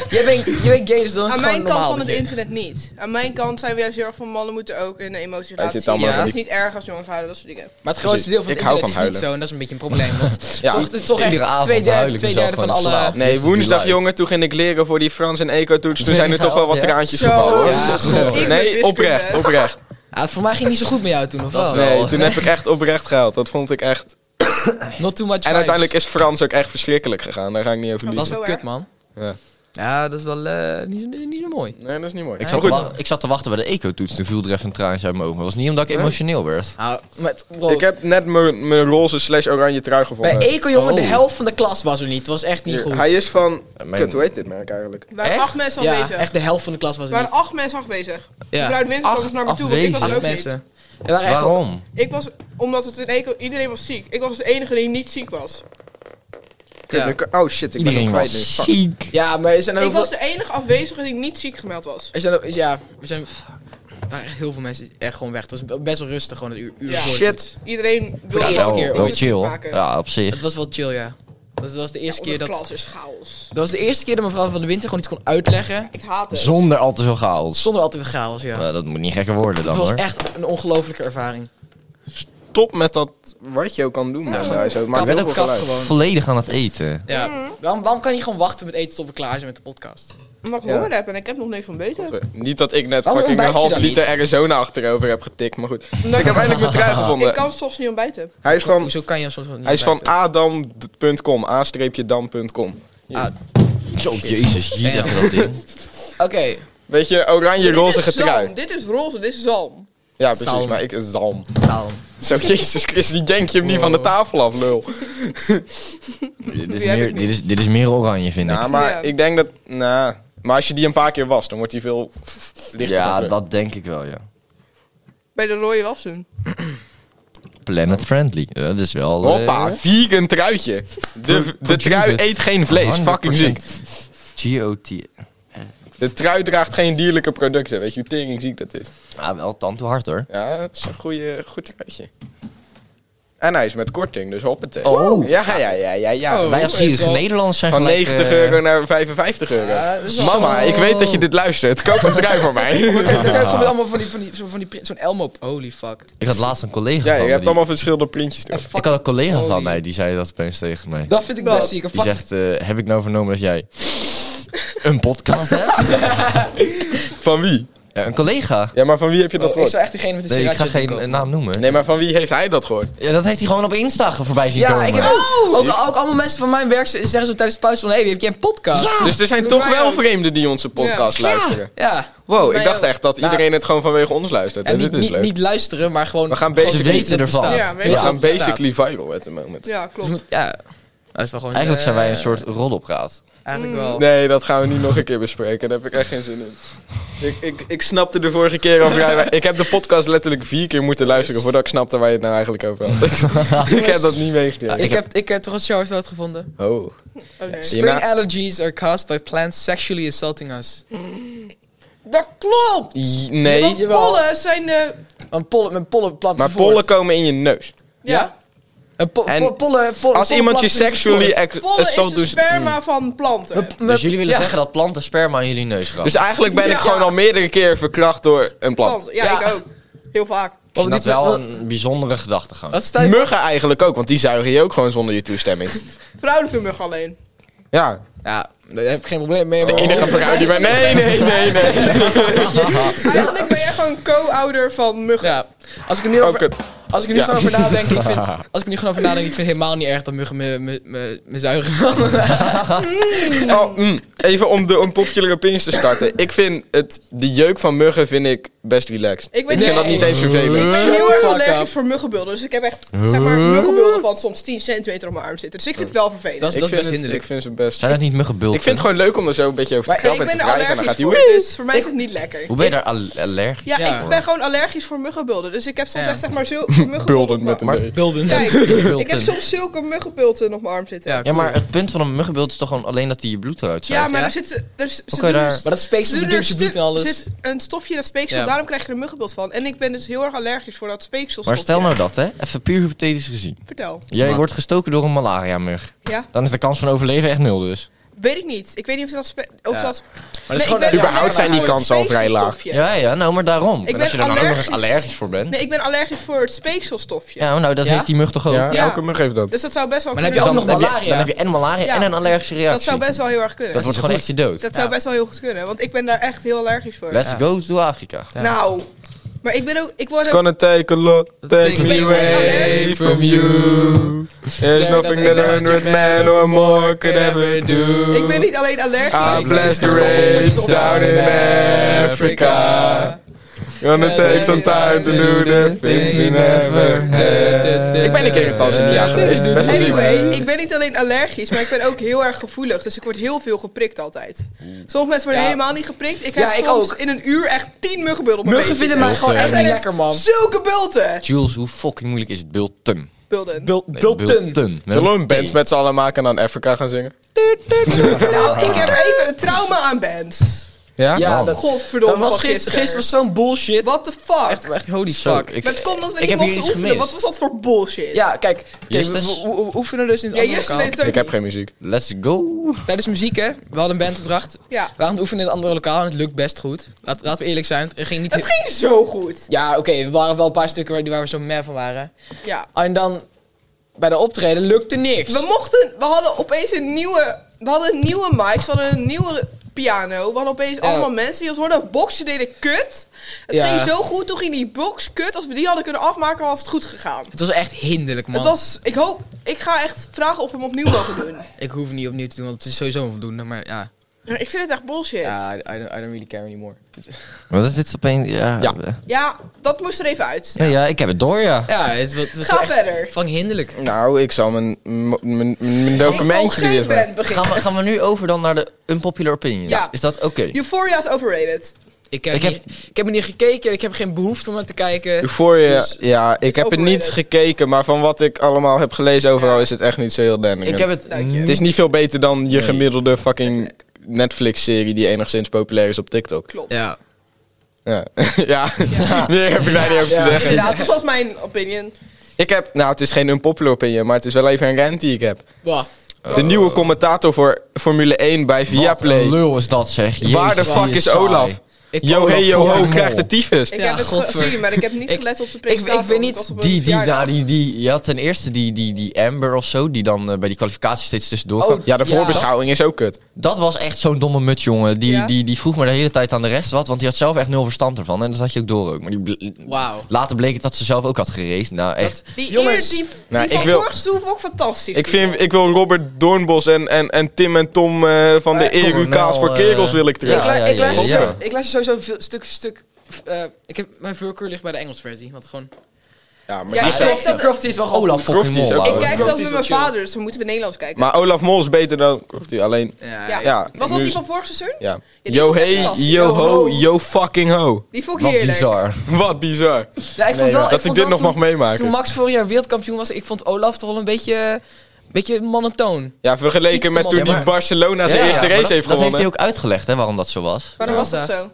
Speaker 3: Jij bent, jij bent gay, dus dan is
Speaker 2: Aan
Speaker 3: het gewoon
Speaker 2: mijn kant
Speaker 3: normaal.
Speaker 2: van het
Speaker 3: dat je-
Speaker 2: internet niet. Aan mijn kant zijn we juist heel erg van mannen moeten ook een emotie
Speaker 1: Hij
Speaker 2: laten
Speaker 1: zit
Speaker 2: zien.
Speaker 1: allemaal
Speaker 2: Ja.
Speaker 3: van
Speaker 2: Dat
Speaker 1: die-
Speaker 2: is niet erg als jongens houden, dat soort dingen.
Speaker 3: Maar het grootste deel van
Speaker 1: Ik
Speaker 3: het
Speaker 1: hou
Speaker 3: internet
Speaker 1: van
Speaker 3: is
Speaker 1: huilen.
Speaker 3: niet zo en dat is een beetje een probleem. Want
Speaker 1: Ja.
Speaker 3: toch, toch echt
Speaker 5: Iedere avond
Speaker 3: twee derde,
Speaker 5: huil ik
Speaker 3: twee
Speaker 5: mezelf
Speaker 3: derde van
Speaker 5: gewoon in
Speaker 3: alle...
Speaker 5: slaap.
Speaker 1: Nee,
Speaker 5: Yesterday
Speaker 1: woensdag
Speaker 5: live.
Speaker 1: jongen, toen ging ik leren voor die Frans en Eco-toets. Toen zijn er toch wel wat
Speaker 5: Ja.
Speaker 1: traantjes
Speaker 2: Zo.
Speaker 1: gevallen. hoor.
Speaker 3: Ja,
Speaker 2: goed. Ik ben dus
Speaker 1: Nee,
Speaker 2: wiskunde.
Speaker 1: oprecht, oprecht.
Speaker 3: Ah, voor mij ging het niet zo goed met jou toen, of wel?
Speaker 1: Nee, toen heb ik echt oprecht gehaald. Dat vond ik echt...
Speaker 3: Not too much
Speaker 1: En uiteindelijk is Frans ook echt verschrikkelijk gegaan. Daar ga ik niet over
Speaker 3: Dat was
Speaker 1: liegen.
Speaker 2: Zo
Speaker 3: wel
Speaker 2: erg.
Speaker 3: kut, man.
Speaker 1: Ja.
Speaker 3: Ja, dat is wel eh, niet, zo, niet zo mooi.
Speaker 1: Nee, dat is niet mooi.
Speaker 5: Ik
Speaker 1: Maar
Speaker 5: zat, te
Speaker 1: goed,
Speaker 5: wa- ik zat te wachten bij de eco-toets. Toen viel er even een traantje uit mijn ogen. Maar dat was niet omdat ik
Speaker 1: Nee.
Speaker 5: emotioneel werd.
Speaker 3: Nou, met, bro,
Speaker 1: ik heb net mijn mijn roze slash oranje trui
Speaker 3: bij
Speaker 1: gevonden.
Speaker 3: Eco, jongen, de
Speaker 5: Oh.
Speaker 3: helft van de klas was er niet. Het was echt niet
Speaker 1: Hier,
Speaker 3: goed.
Speaker 1: Hij is van...
Speaker 5: Mijn-
Speaker 1: Kut, hoe heet dit merk eigenlijk?
Speaker 2: Er waren
Speaker 3: Echt?
Speaker 2: acht mensen
Speaker 3: ja,
Speaker 2: aanwezig.
Speaker 3: echt de helft van de klas was
Speaker 2: Er
Speaker 3: er
Speaker 2: waren
Speaker 3: niet.
Speaker 2: acht mensen afwezig.
Speaker 3: Ja.
Speaker 2: Mevrouw de Winter kwam
Speaker 5: Acht
Speaker 2: dus naar me toe, want ik was er
Speaker 3: Acht
Speaker 2: ook
Speaker 3: mensen.
Speaker 2: niet.
Speaker 3: Er waren echt wel-
Speaker 5: Waarom?
Speaker 2: Ik was, omdat het in eco, iedereen was ziek. Ik was de enige die niet ziek was.
Speaker 1: Kut,
Speaker 3: Ja.
Speaker 1: nu kan- Oh shit, ik ben hem
Speaker 5: Iedereen
Speaker 1: kwijt nu.
Speaker 5: was
Speaker 1: Fuck.
Speaker 5: ziek.
Speaker 3: Ja, maar er zijn ook
Speaker 2: Ik
Speaker 3: wel-
Speaker 2: was de enige afwezige die niet ziek gemeld was.
Speaker 3: Er zijn, ook- ja, er zijn... Er waren echt heel veel mensen echt gewoon weg. Het was best wel rustig, gewoon een uur. uur
Speaker 2: Ja.
Speaker 3: voor de
Speaker 1: Shit.
Speaker 3: toets.
Speaker 2: Iedereen wil
Speaker 3: de eerste
Speaker 2: gewoon
Speaker 3: keer,
Speaker 2: een
Speaker 5: Wel
Speaker 3: ooit.
Speaker 2: toets
Speaker 5: chill.
Speaker 2: maken.
Speaker 5: Ja, op zich.
Speaker 3: Het was wel chill, ja. Dat was de eerste
Speaker 2: Onze
Speaker 3: keer dat...
Speaker 2: klas is chaos.
Speaker 3: Dat was de eerste keer dat mevrouw van de Winter gewoon iets kon uitleggen.
Speaker 2: Ik haat het.
Speaker 5: Zonder al te veel chaos.
Speaker 3: Zonder altijd weer chaos, ja.
Speaker 5: Nou, dat moet niet gekker worden
Speaker 3: Het
Speaker 5: dan
Speaker 3: was
Speaker 5: hoor.
Speaker 3: echt een ongelofelijke ervaring.
Speaker 1: Top met dat wat je ook kan doen. daar zo. Het maakt heel
Speaker 3: Kap-
Speaker 1: veel
Speaker 3: kap
Speaker 1: geluid.
Speaker 3: gewoon.
Speaker 5: Volledig aan het eten.
Speaker 3: Ja.
Speaker 1: Mhm.
Speaker 3: Waarom, waarom kan je gewoon wachten met eten tot we klaar zijn met de podcast?
Speaker 2: Omdat ik
Speaker 1: Ja.
Speaker 2: honger heb en ik heb nog niks ontbeten.
Speaker 1: Niet dat ik net
Speaker 3: Waarom
Speaker 1: fucking een
Speaker 3: ontbijt je
Speaker 1: half
Speaker 3: dan
Speaker 1: liter
Speaker 3: niet?
Speaker 1: Arizona achterover heb getikt. Maar goed,
Speaker 2: Omdat
Speaker 1: ik heb eindelijk mijn trui gevonden.
Speaker 2: Ik kan soms niet ontbijten.
Speaker 1: Hij is van,
Speaker 3: Hoezo kan je hem soms gewoon niet
Speaker 1: hij is van
Speaker 3: buiten?
Speaker 1: adam.com, a-dam.com.
Speaker 3: Ah,
Speaker 5: Zo, jezus, hier
Speaker 3: Damn.
Speaker 5: heb je dat ding.
Speaker 3: Oké.
Speaker 1: Weet je, oranje
Speaker 2: Dit is
Speaker 1: rozige
Speaker 2: zalm.
Speaker 1: trui.
Speaker 2: Dit is roze, dit is zalm.
Speaker 1: Ja, precies,
Speaker 3: Zalm.
Speaker 1: maar ik zalm.
Speaker 3: Salm.
Speaker 1: Zo, Jezus Christus, die denk je hem niet van de tafel af, lul.
Speaker 5: Dit is,
Speaker 2: Die heb ik
Speaker 5: meer,
Speaker 2: niet.
Speaker 5: dit, is, dit is meer oranje, vind
Speaker 1: Nou,
Speaker 5: ik.
Speaker 1: maar
Speaker 2: Ja.
Speaker 1: ik denk dat... Nou, maar als je die een paar keer wast, dan wordt hij veel lichter.
Speaker 5: Ja,
Speaker 1: van kleur.
Speaker 5: dat denk ik wel, ja.
Speaker 2: Bij de rode was toen.
Speaker 5: Planet friendly. Ja, Dat is wel... eh,
Speaker 1: Hoppa, vegan truitje. De, de trui
Speaker 5: produced
Speaker 1: eet geen vlees, fucking ziek.
Speaker 5: 100% GOT.
Speaker 1: De trui draagt geen dierlijke producten, weet je hoe tering ziek dat is.
Speaker 5: Ah, wel tandtoe hard hoor.
Speaker 1: Ja, het is een goeie, goed truitje. En hij is met korting, dus hoppatee.
Speaker 5: Oh.
Speaker 1: Ja, ja, ja, ja, ja.
Speaker 3: Oh.
Speaker 5: Wij als gierige
Speaker 3: is wel-
Speaker 5: Nederlanders zijn
Speaker 1: Van
Speaker 5: gelijk,
Speaker 1: 90
Speaker 5: eh,
Speaker 1: euro naar 55 euro.
Speaker 3: dat is wel-
Speaker 1: Mama, ik weet dat je dit luistert. Koop een trui voor mij.
Speaker 3: En dan kom je allemaal van die, van die, zo- van die, print- zo'n Elmo op. Holy fuck.
Speaker 5: Ik had laatst een collega
Speaker 1: Ja,
Speaker 5: van
Speaker 1: je
Speaker 5: me
Speaker 1: hebt
Speaker 5: die-
Speaker 1: allemaal verschillende printjes.
Speaker 3: En
Speaker 1: Door.
Speaker 3: fuck-
Speaker 5: Ik had een collega
Speaker 3: Holy.
Speaker 5: van mij die zei dat opeens tegen mij.
Speaker 3: Dat vind ik best ziek. Een
Speaker 5: Die
Speaker 3: fuck-
Speaker 5: zegt, eh, heb ik nou vernomen dat jij een podcast hebt?
Speaker 1: Van wie?
Speaker 5: Ja, een collega.
Speaker 1: Ja, maar van wie heb je dat
Speaker 3: Oh, ik
Speaker 1: gehoord?
Speaker 3: zou echt diegene met de
Speaker 5: Nee, ik
Speaker 3: sriracha
Speaker 5: ga geen
Speaker 3: doen
Speaker 5: eh,
Speaker 3: kopen.
Speaker 5: naam noemen.
Speaker 1: Nee, maar van wie heeft hij dat gehoord?
Speaker 5: Ja, dat heeft hij gewoon op Insta voorbij zien
Speaker 3: Ja,
Speaker 5: komen.
Speaker 3: ik heb ook, ook, ook allemaal mensen van mijn werk ze- zeggen zo tijdens de pauze van... Hé, hey, heb jij een podcast?
Speaker 1: Dus er zijn
Speaker 2: Doe
Speaker 1: toch
Speaker 2: mij
Speaker 1: wel
Speaker 2: ook.
Speaker 1: vreemden die onze podcast luisteren.
Speaker 3: Ja.
Speaker 1: Wow,
Speaker 2: Doe
Speaker 1: ik
Speaker 2: mij
Speaker 1: dacht
Speaker 2: ook.
Speaker 1: echt dat
Speaker 3: Nou,
Speaker 1: iedereen het gewoon vanwege ons luistert.
Speaker 3: En
Speaker 1: En
Speaker 3: niet,
Speaker 1: dit is
Speaker 3: niet,
Speaker 1: leuk.
Speaker 3: niet luisteren, maar gewoon...
Speaker 1: We gaan
Speaker 3: gewoon
Speaker 1: basically-
Speaker 3: weten
Speaker 5: Weten
Speaker 3: dat het
Speaker 5: ervan.
Speaker 3: bestaat.
Speaker 2: Ja,
Speaker 3: Weten
Speaker 1: We
Speaker 3: dat
Speaker 1: gaan
Speaker 3: het bestaat.
Speaker 1: basically viral at the moment.
Speaker 2: Ja, klopt.
Speaker 3: Ja. Dat is wel gewoon...
Speaker 5: Eigenlijk zijn wij een
Speaker 3: eh,
Speaker 5: soort roddelpraat.
Speaker 3: Eigenlijk wel.
Speaker 1: Nee, dat gaan we niet nog een keer bespreken. Daar heb ik echt geen zin in. Ik, ik, ik snapte de vorige keer over. jij- Ik heb de podcast letterlijk vier keer moeten luisteren voordat ik snapte waar je het nou eigenlijk over had. ik heb dat niet meegekregen.
Speaker 3: Ik heb, ik heb toch een show dat gevonden.
Speaker 1: Oh.
Speaker 2: Oh, nee.
Speaker 1: Zie je
Speaker 3: Spring
Speaker 1: na-
Speaker 3: allergies are caused by plants sexually assaulting us.
Speaker 2: Dat klopt!
Speaker 1: J-
Speaker 2: Want
Speaker 1: Nee,
Speaker 3: Jawel.
Speaker 2: pollen zijn... eh,
Speaker 3: Want pollen, met pollen planten
Speaker 1: maar
Speaker 3: ze voort.
Speaker 1: pollen komen in je neus.
Speaker 2: ja.
Speaker 3: Ja? Een po-
Speaker 1: En
Speaker 3: po- polle- po-
Speaker 1: Als
Speaker 3: pollenplant
Speaker 1: iemand je
Speaker 3: is een
Speaker 1: sexually
Speaker 3: soort.
Speaker 1: act-
Speaker 2: Pollen is
Speaker 1: assault
Speaker 2: de
Speaker 1: doet...
Speaker 2: sperma
Speaker 1: Mm.
Speaker 2: van planten.
Speaker 3: Hup, hup,
Speaker 5: Dus jullie willen
Speaker 3: ja.
Speaker 5: zeggen dat planten sperma in jullie neus gaan.
Speaker 1: Dus eigenlijk ben
Speaker 2: Ja.
Speaker 1: ik gewoon al meerdere keer verkracht door een plant.
Speaker 2: Planten. Ja,
Speaker 3: Ja.
Speaker 2: ik ook. Heel vaak.
Speaker 5: ik vind dat
Speaker 3: die-
Speaker 5: wel
Speaker 3: wat-
Speaker 5: een bijzondere gedachtegang.
Speaker 3: Wat staat
Speaker 1: Muggen eigenlijk ook, want die zuigen je ook gewoon zonder je toestemming.
Speaker 2: Vrouwelijke mug alleen.
Speaker 1: Ja.
Speaker 3: Ja, daar heb ik geen probleem mee.
Speaker 1: De
Speaker 3: maar-
Speaker 1: enige vrouw die bij... Nee, nee, nee, nee.
Speaker 2: Eigenlijk ben jij gewoon co-ouder van muggen.
Speaker 3: Ja, als ik er nu
Speaker 1: Oh,
Speaker 3: over,
Speaker 1: kut.
Speaker 3: als ik er nu
Speaker 1: Ja.
Speaker 3: gewoon over nadenk, ik vind, als ik er nu gewoon over nadenk, ik vind het helemaal niet erg dat muggen me, me, me, me zuigen.
Speaker 1: Oh, mm, even om de unpopular opinions te starten. Ik vind het, de jeuk van muggen vind ik best relaxed.
Speaker 2: Ik
Speaker 1: Ik,
Speaker 2: ben-
Speaker 1: vind dat
Speaker 2: nee.
Speaker 1: niet eens vervelend.
Speaker 2: Ik ben heel erg
Speaker 3: Fuck
Speaker 2: allergisch
Speaker 3: up.
Speaker 2: voor muggenbulden. Dus ik heb echt zeg maar, muggenbulden van soms 10 centimeter op mijn arm zitten. Dus ik vind het wel vervelend.
Speaker 3: Dat is,
Speaker 1: Ik
Speaker 3: dat is
Speaker 1: vind,
Speaker 3: best
Speaker 1: het, ik
Speaker 3: hinderlijk.
Speaker 1: vind ze best...
Speaker 5: Zijn dat niet muggenbulten?
Speaker 1: Ik vind het gewoon leuk om er zo een beetje over te
Speaker 2: maar ik
Speaker 1: grappen en
Speaker 2: ben
Speaker 1: te
Speaker 2: er
Speaker 1: wrijven. En dan
Speaker 2: allergisch
Speaker 1: gaat die...
Speaker 2: voor, dus voor mij is het niet lekker.
Speaker 5: Hoe ben je daar al- allergisch?
Speaker 2: Ja,
Speaker 3: Ja.
Speaker 2: ik ben gewoon allergisch voor muggenbulden. Dus ik heb soms
Speaker 3: Ja.
Speaker 2: echt zeg maar zulke muggenbulten. op mijn-
Speaker 1: een
Speaker 3: Bulden.
Speaker 2: Kijk, ik heb
Speaker 5: Bulten.
Speaker 2: soms zulke muggenbulten op mijn arm zitten.
Speaker 3: Ja,
Speaker 2: Ja,
Speaker 5: Ja, maar het punt van een muggenbult is toch gewoon alleen dat hij je bloed eruit zuigt?
Speaker 2: maar
Speaker 3: ja?
Speaker 2: er zit... Er, dus- ze
Speaker 5: Oké,
Speaker 2: doen
Speaker 5: daar-
Speaker 2: er-
Speaker 3: Maar dat
Speaker 2: ze
Speaker 3: speeksel
Speaker 2: doen er
Speaker 3: verduurt je
Speaker 2: stu-
Speaker 3: bloed en alles.
Speaker 2: zit een stofje dat speeksel,
Speaker 3: Ja.
Speaker 2: daarom krijg je er een muggenbult van. En ik ben dus heel erg allergisch voor dat speeksel.
Speaker 5: Maar stel nou dat, hè? Even puur hypothetisch gezien.
Speaker 2: Vertel.
Speaker 5: Jij
Speaker 3: Wat?
Speaker 5: wordt gestoken door een malaria-mug.
Speaker 2: Ja?
Speaker 5: Dan is de kans van overleven echt nul dus.
Speaker 2: Weet ik niet. Ik weet niet of ze dat... Spe- of
Speaker 3: Ja.
Speaker 2: ze dat
Speaker 3: Maar dat
Speaker 2: Nee,
Speaker 3: is
Speaker 2: ik
Speaker 3: gewoon
Speaker 2: ben
Speaker 1: Überhaupt zijn die
Speaker 2: allergisch
Speaker 1: kansen al
Speaker 2: voor het
Speaker 1: vrij laag.
Speaker 2: speekselstofje.
Speaker 5: Ja, ja, nou, maar daarom.
Speaker 2: Ik
Speaker 5: en als je
Speaker 2: ben
Speaker 5: dan ook nog eens
Speaker 2: allergisch.
Speaker 5: allergisch voor bent.
Speaker 2: Nee, ik ben allergisch voor het speekselstofje.
Speaker 5: Ja, nou, dat
Speaker 3: Ja?
Speaker 5: heeft die mug toch ook.
Speaker 1: Ja,
Speaker 2: Ja.
Speaker 1: elke mug heeft dat.
Speaker 2: Dus dat zou best wel
Speaker 3: Maar dan heb
Speaker 2: kunnen.
Speaker 3: je ook nog
Speaker 5: dan, heb je,
Speaker 3: malaria.
Speaker 5: dan heb je en malaria
Speaker 2: Ja.
Speaker 5: en een allergische reactie.
Speaker 2: Dat zou best wel heel erg kunnen.
Speaker 5: Dat wordt gewoon echt je dood.
Speaker 2: Dat zou
Speaker 3: Ja.
Speaker 2: best wel heel goed kunnen, want ik ben daar echt heel allergisch voor.
Speaker 5: Let's
Speaker 3: Ja.
Speaker 5: go to Afrika.
Speaker 2: Nou, maar ik ben ook... Ik word ook
Speaker 1: Gonna take a lot, take
Speaker 3: Ik
Speaker 1: me
Speaker 3: ben-
Speaker 1: away from you. There's
Speaker 3: There
Speaker 1: nothing
Speaker 3: that
Speaker 1: that a hundred men or more could ever do.
Speaker 2: Ik ben niet alleen
Speaker 3: Ah,
Speaker 2: allergisch.
Speaker 1: I bless the rage down in Africa. Gonna take some time to do the things we never had. Ik ben een keer in Tanzania geweest, best wel
Speaker 2: Anyway,
Speaker 1: ziek.
Speaker 2: ik ben niet alleen allergisch, maar ik ben ook heel erg gevoelig. Dus ik word heel veel geprikt altijd. Sommige mensen worden
Speaker 3: Ja.
Speaker 2: helemaal niet geprikt. Ik heb
Speaker 3: Ja, ik
Speaker 2: soms
Speaker 3: ook.
Speaker 2: in een uur echt tien muggenbulten op mijn
Speaker 3: Muggen
Speaker 2: been
Speaker 3: vinden
Speaker 2: zitten.
Speaker 3: mij gewoon
Speaker 5: Bulten.
Speaker 3: echt niet lekker, man.
Speaker 2: Zulke bulten!
Speaker 5: Jules, hoe fucking moeilijk is het bulten?
Speaker 2: Bulten.
Speaker 3: Bul-
Speaker 5: Nee,
Speaker 3: Bulten.
Speaker 5: Met
Speaker 1: Zullen we een
Speaker 5: T.
Speaker 1: band met z'n allen maken en dan Afrika gaan zingen?
Speaker 2: Nou, ik heb even een trauma aan bands.
Speaker 5: Oh,
Speaker 3: Ja, dat,
Speaker 2: Godverdomme.
Speaker 3: dat was
Speaker 2: van
Speaker 3: gisteren. Gisteren was zo'n bullshit.
Speaker 2: What the fuck?
Speaker 3: Echt, echt holy
Speaker 5: Zo,
Speaker 3: fuck.
Speaker 5: ik-
Speaker 2: Maar het komt omdat we
Speaker 5: Ik
Speaker 2: niet
Speaker 5: heb
Speaker 2: mochten
Speaker 5: hier iets
Speaker 2: oefenen.
Speaker 5: gemist.
Speaker 2: Wat was dat voor bullshit?
Speaker 3: Ja, kijk. kijk, we,
Speaker 5: Justus.
Speaker 3: we- we- we oefenen dus in het
Speaker 2: ja
Speaker 3: andere
Speaker 2: Justus
Speaker 3: lokaal.
Speaker 2: weet het ook
Speaker 1: Ik heb
Speaker 2: niet.
Speaker 1: geen muziek.
Speaker 5: Let's go.
Speaker 3: Tijdens muziek, hè. We hadden een bandopdracht.
Speaker 2: Ja.
Speaker 3: We waren aan het oefenen in het andere lokaal en het lukt best goed. Laat, laten we eerlijk zijn. Het ging niet...
Speaker 2: Het ging zo goed.
Speaker 3: Ja, oké. we waren wel een paar stukken waar, waar we zo meh van waren.
Speaker 2: Ja.
Speaker 3: En dan... Bij de optreden lukte niks.
Speaker 2: We mochten, we hadden opeens een nieuwe, we hadden nieuwe mics, we hadden een nieuwe piano. We hadden opeens
Speaker 3: Ja.
Speaker 2: allemaal mensen die ons hoorden boksen deden kut. Het
Speaker 3: Ja.
Speaker 2: ging zo goed, toen ging die box kut. Als we die hadden kunnen afmaken, was het goed gegaan.
Speaker 3: Het was echt hinderlijk, man.
Speaker 2: Het was, ik hoop, ik ga echt vragen of we hem opnieuw mogen doen.
Speaker 3: Ik hoef het niet opnieuw te doen, want het is sowieso onvoldoende. Maar ja,
Speaker 2: Ja, Ik vind het echt bullshit. Ja.
Speaker 3: ja I, don't, I don't really care anymore.
Speaker 5: Wat is dit opeens? Ja.
Speaker 1: Ja.
Speaker 5: eh,
Speaker 2: dat moest er even uit.
Speaker 5: Nee, ja, ik heb het door, ja.
Speaker 3: Ja, het was, het was
Speaker 2: Ga
Speaker 3: echt
Speaker 2: verder.
Speaker 3: Van hinderlijk.
Speaker 1: Nou, ik zal mijn, m- mijn, mijn
Speaker 2: ik
Speaker 1: documentje er
Speaker 2: wil geen
Speaker 1: eerst maken.
Speaker 2: band beginnen.
Speaker 5: Gaan we, gaan we nu over dan naar de unpopular opinions?
Speaker 2: Ja.
Speaker 5: Is dat oké?
Speaker 2: Euphoria is overrated.
Speaker 3: Ik heb,
Speaker 5: Ik heb-
Speaker 3: Niet, ik heb er niet gekeken, ik heb geen behoefte om naar te kijken.
Speaker 1: Euphoria,
Speaker 3: Dus-
Speaker 1: ja, ik heb het niet
Speaker 2: overrated.
Speaker 1: gekeken, maar van wat ik allemaal heb gelezen overal is het echt niet zo heel denderend.
Speaker 5: Ik heb het...
Speaker 2: Dank je.
Speaker 3: Mm,
Speaker 1: Het is niet veel beter dan je gemiddelde fucking Netflix-serie die enigszins populair is op TikTok.
Speaker 2: Klopt.
Speaker 3: Ja.
Speaker 1: Ja, ja. meer heb ik daar niet over te
Speaker 3: Ja.
Speaker 1: zeggen.
Speaker 2: Inderdaad, dat was mijn opinion.
Speaker 1: Ik heb, nou het is geen unpopular opinion, maar het is wel even een rant die ik heb.
Speaker 3: Bah.
Speaker 1: De nieuwe commentator voor Formule 1 bij
Speaker 5: Wat een
Speaker 1: Viaplay.
Speaker 5: lul is dat, zeg. Jezus,
Speaker 1: Waar de
Speaker 5: wat
Speaker 1: fuck
Speaker 5: je
Speaker 1: is
Speaker 5: saai.
Speaker 1: Olaf?
Speaker 3: Ik
Speaker 1: Yo
Speaker 5: Olaf
Speaker 1: hey yo ho,
Speaker 5: fucking
Speaker 1: krijgt
Speaker 5: mol.
Speaker 1: de tyfus.
Speaker 2: Ik
Speaker 3: Ja,
Speaker 2: heb het
Speaker 3: godver-
Speaker 2: gezien, maar ik heb niet
Speaker 3: Ik-
Speaker 2: gelet op de
Speaker 3: ik
Speaker 2: presentatie.
Speaker 3: weet
Speaker 2: want
Speaker 3: niet,
Speaker 2: was op een
Speaker 5: Die, die,
Speaker 2: verjaardag.
Speaker 5: nou, die, die, je had ten eerste die, die, die Amber of zo, die dan eh, bij die kwalificatie steeds
Speaker 2: Oh,
Speaker 5: tussendoor kwam.
Speaker 1: Ja, de voorbeschouwing is ook kut.
Speaker 5: Dat was echt zo'n domme mut, jongen. Die,
Speaker 2: Ja?
Speaker 5: die, die vroeg me de hele tijd aan de rest wat, want die had zelf echt nul verstand ervan. En dat had je ook door ook. Maar die ble-
Speaker 3: Wauw.
Speaker 5: later bleek het dat ze zelf ook had geraced. Nou, echt.
Speaker 2: Die
Speaker 3: Jongens.
Speaker 2: eer, die,
Speaker 1: Nou,
Speaker 2: die
Speaker 1: ik
Speaker 2: van
Speaker 1: wil-
Speaker 2: vorige stoel vond ik fantastisch.
Speaker 1: Ik, vind, ik wil Robert Doornbos en, en, en Tim en Tom eh, van de
Speaker 5: Eh,
Speaker 1: Eru Kaas voor
Speaker 5: eh,
Speaker 1: Kerels wil ik
Speaker 5: Ja,
Speaker 3: ik,
Speaker 1: terug.
Speaker 3: lu-
Speaker 5: ja,
Speaker 3: ik
Speaker 5: ja,
Speaker 3: luister,
Speaker 5: ja.
Speaker 3: zo- ik luister sowieso veel, stuk voor stuk. eh, ik heb, mijn voorkeur ligt bij de Engelse versie. Want gewoon.
Speaker 1: Ja, maar,
Speaker 2: Ja, ik kijk dat,
Speaker 3: Crofty is wel gewoon.
Speaker 5: Olaf
Speaker 1: Crofty
Speaker 5: fucking
Speaker 1: Oh, is
Speaker 5: mol,
Speaker 1: ook-
Speaker 2: ik
Speaker 5: ouwe.
Speaker 2: kijk
Speaker 3: Crofty
Speaker 2: dat
Speaker 3: is
Speaker 2: met
Speaker 3: wel
Speaker 2: mijn
Speaker 3: chill.
Speaker 2: vader, dus dan moeten we Nederlands kijken.
Speaker 1: maar Olaf Mol is beter dan Crofty, alleen...
Speaker 3: Ja,
Speaker 2: ja.
Speaker 1: ja,
Speaker 2: was dat
Speaker 1: nu-
Speaker 2: die van vorig seizoen?
Speaker 1: Ja.
Speaker 2: die
Speaker 1: Yo
Speaker 2: vond ik echt
Speaker 1: hey,
Speaker 2: fantastisch.
Speaker 1: yo ho, yo fucking ho.
Speaker 2: Die vond ik
Speaker 5: Wat
Speaker 2: heerlijk.
Speaker 5: bizar.
Speaker 1: Wat bizar.
Speaker 3: Ja, ik vond wel,
Speaker 1: Dat ik
Speaker 3: vond
Speaker 1: dit nog mag
Speaker 3: wel toen, Toen
Speaker 1: meemaken.
Speaker 3: Max vorig jaar wereldkampioen was, ik vond Olaf toch wel een beetje. beetje monotoon.
Speaker 1: Ja,
Speaker 3: iets te
Speaker 1: vergeleken met toen
Speaker 3: mannen.
Speaker 1: die
Speaker 5: Ja, maar-
Speaker 1: Barcelona zijn
Speaker 5: Ja,
Speaker 1: eerste
Speaker 5: maar
Speaker 1: race
Speaker 5: dat-
Speaker 1: heeft
Speaker 5: Dat heeft hij
Speaker 1: gewonnen.
Speaker 5: ook uitgelegd, hè, waarom dat zo was.
Speaker 2: Waarom
Speaker 3: Ja.
Speaker 2: was dat zo?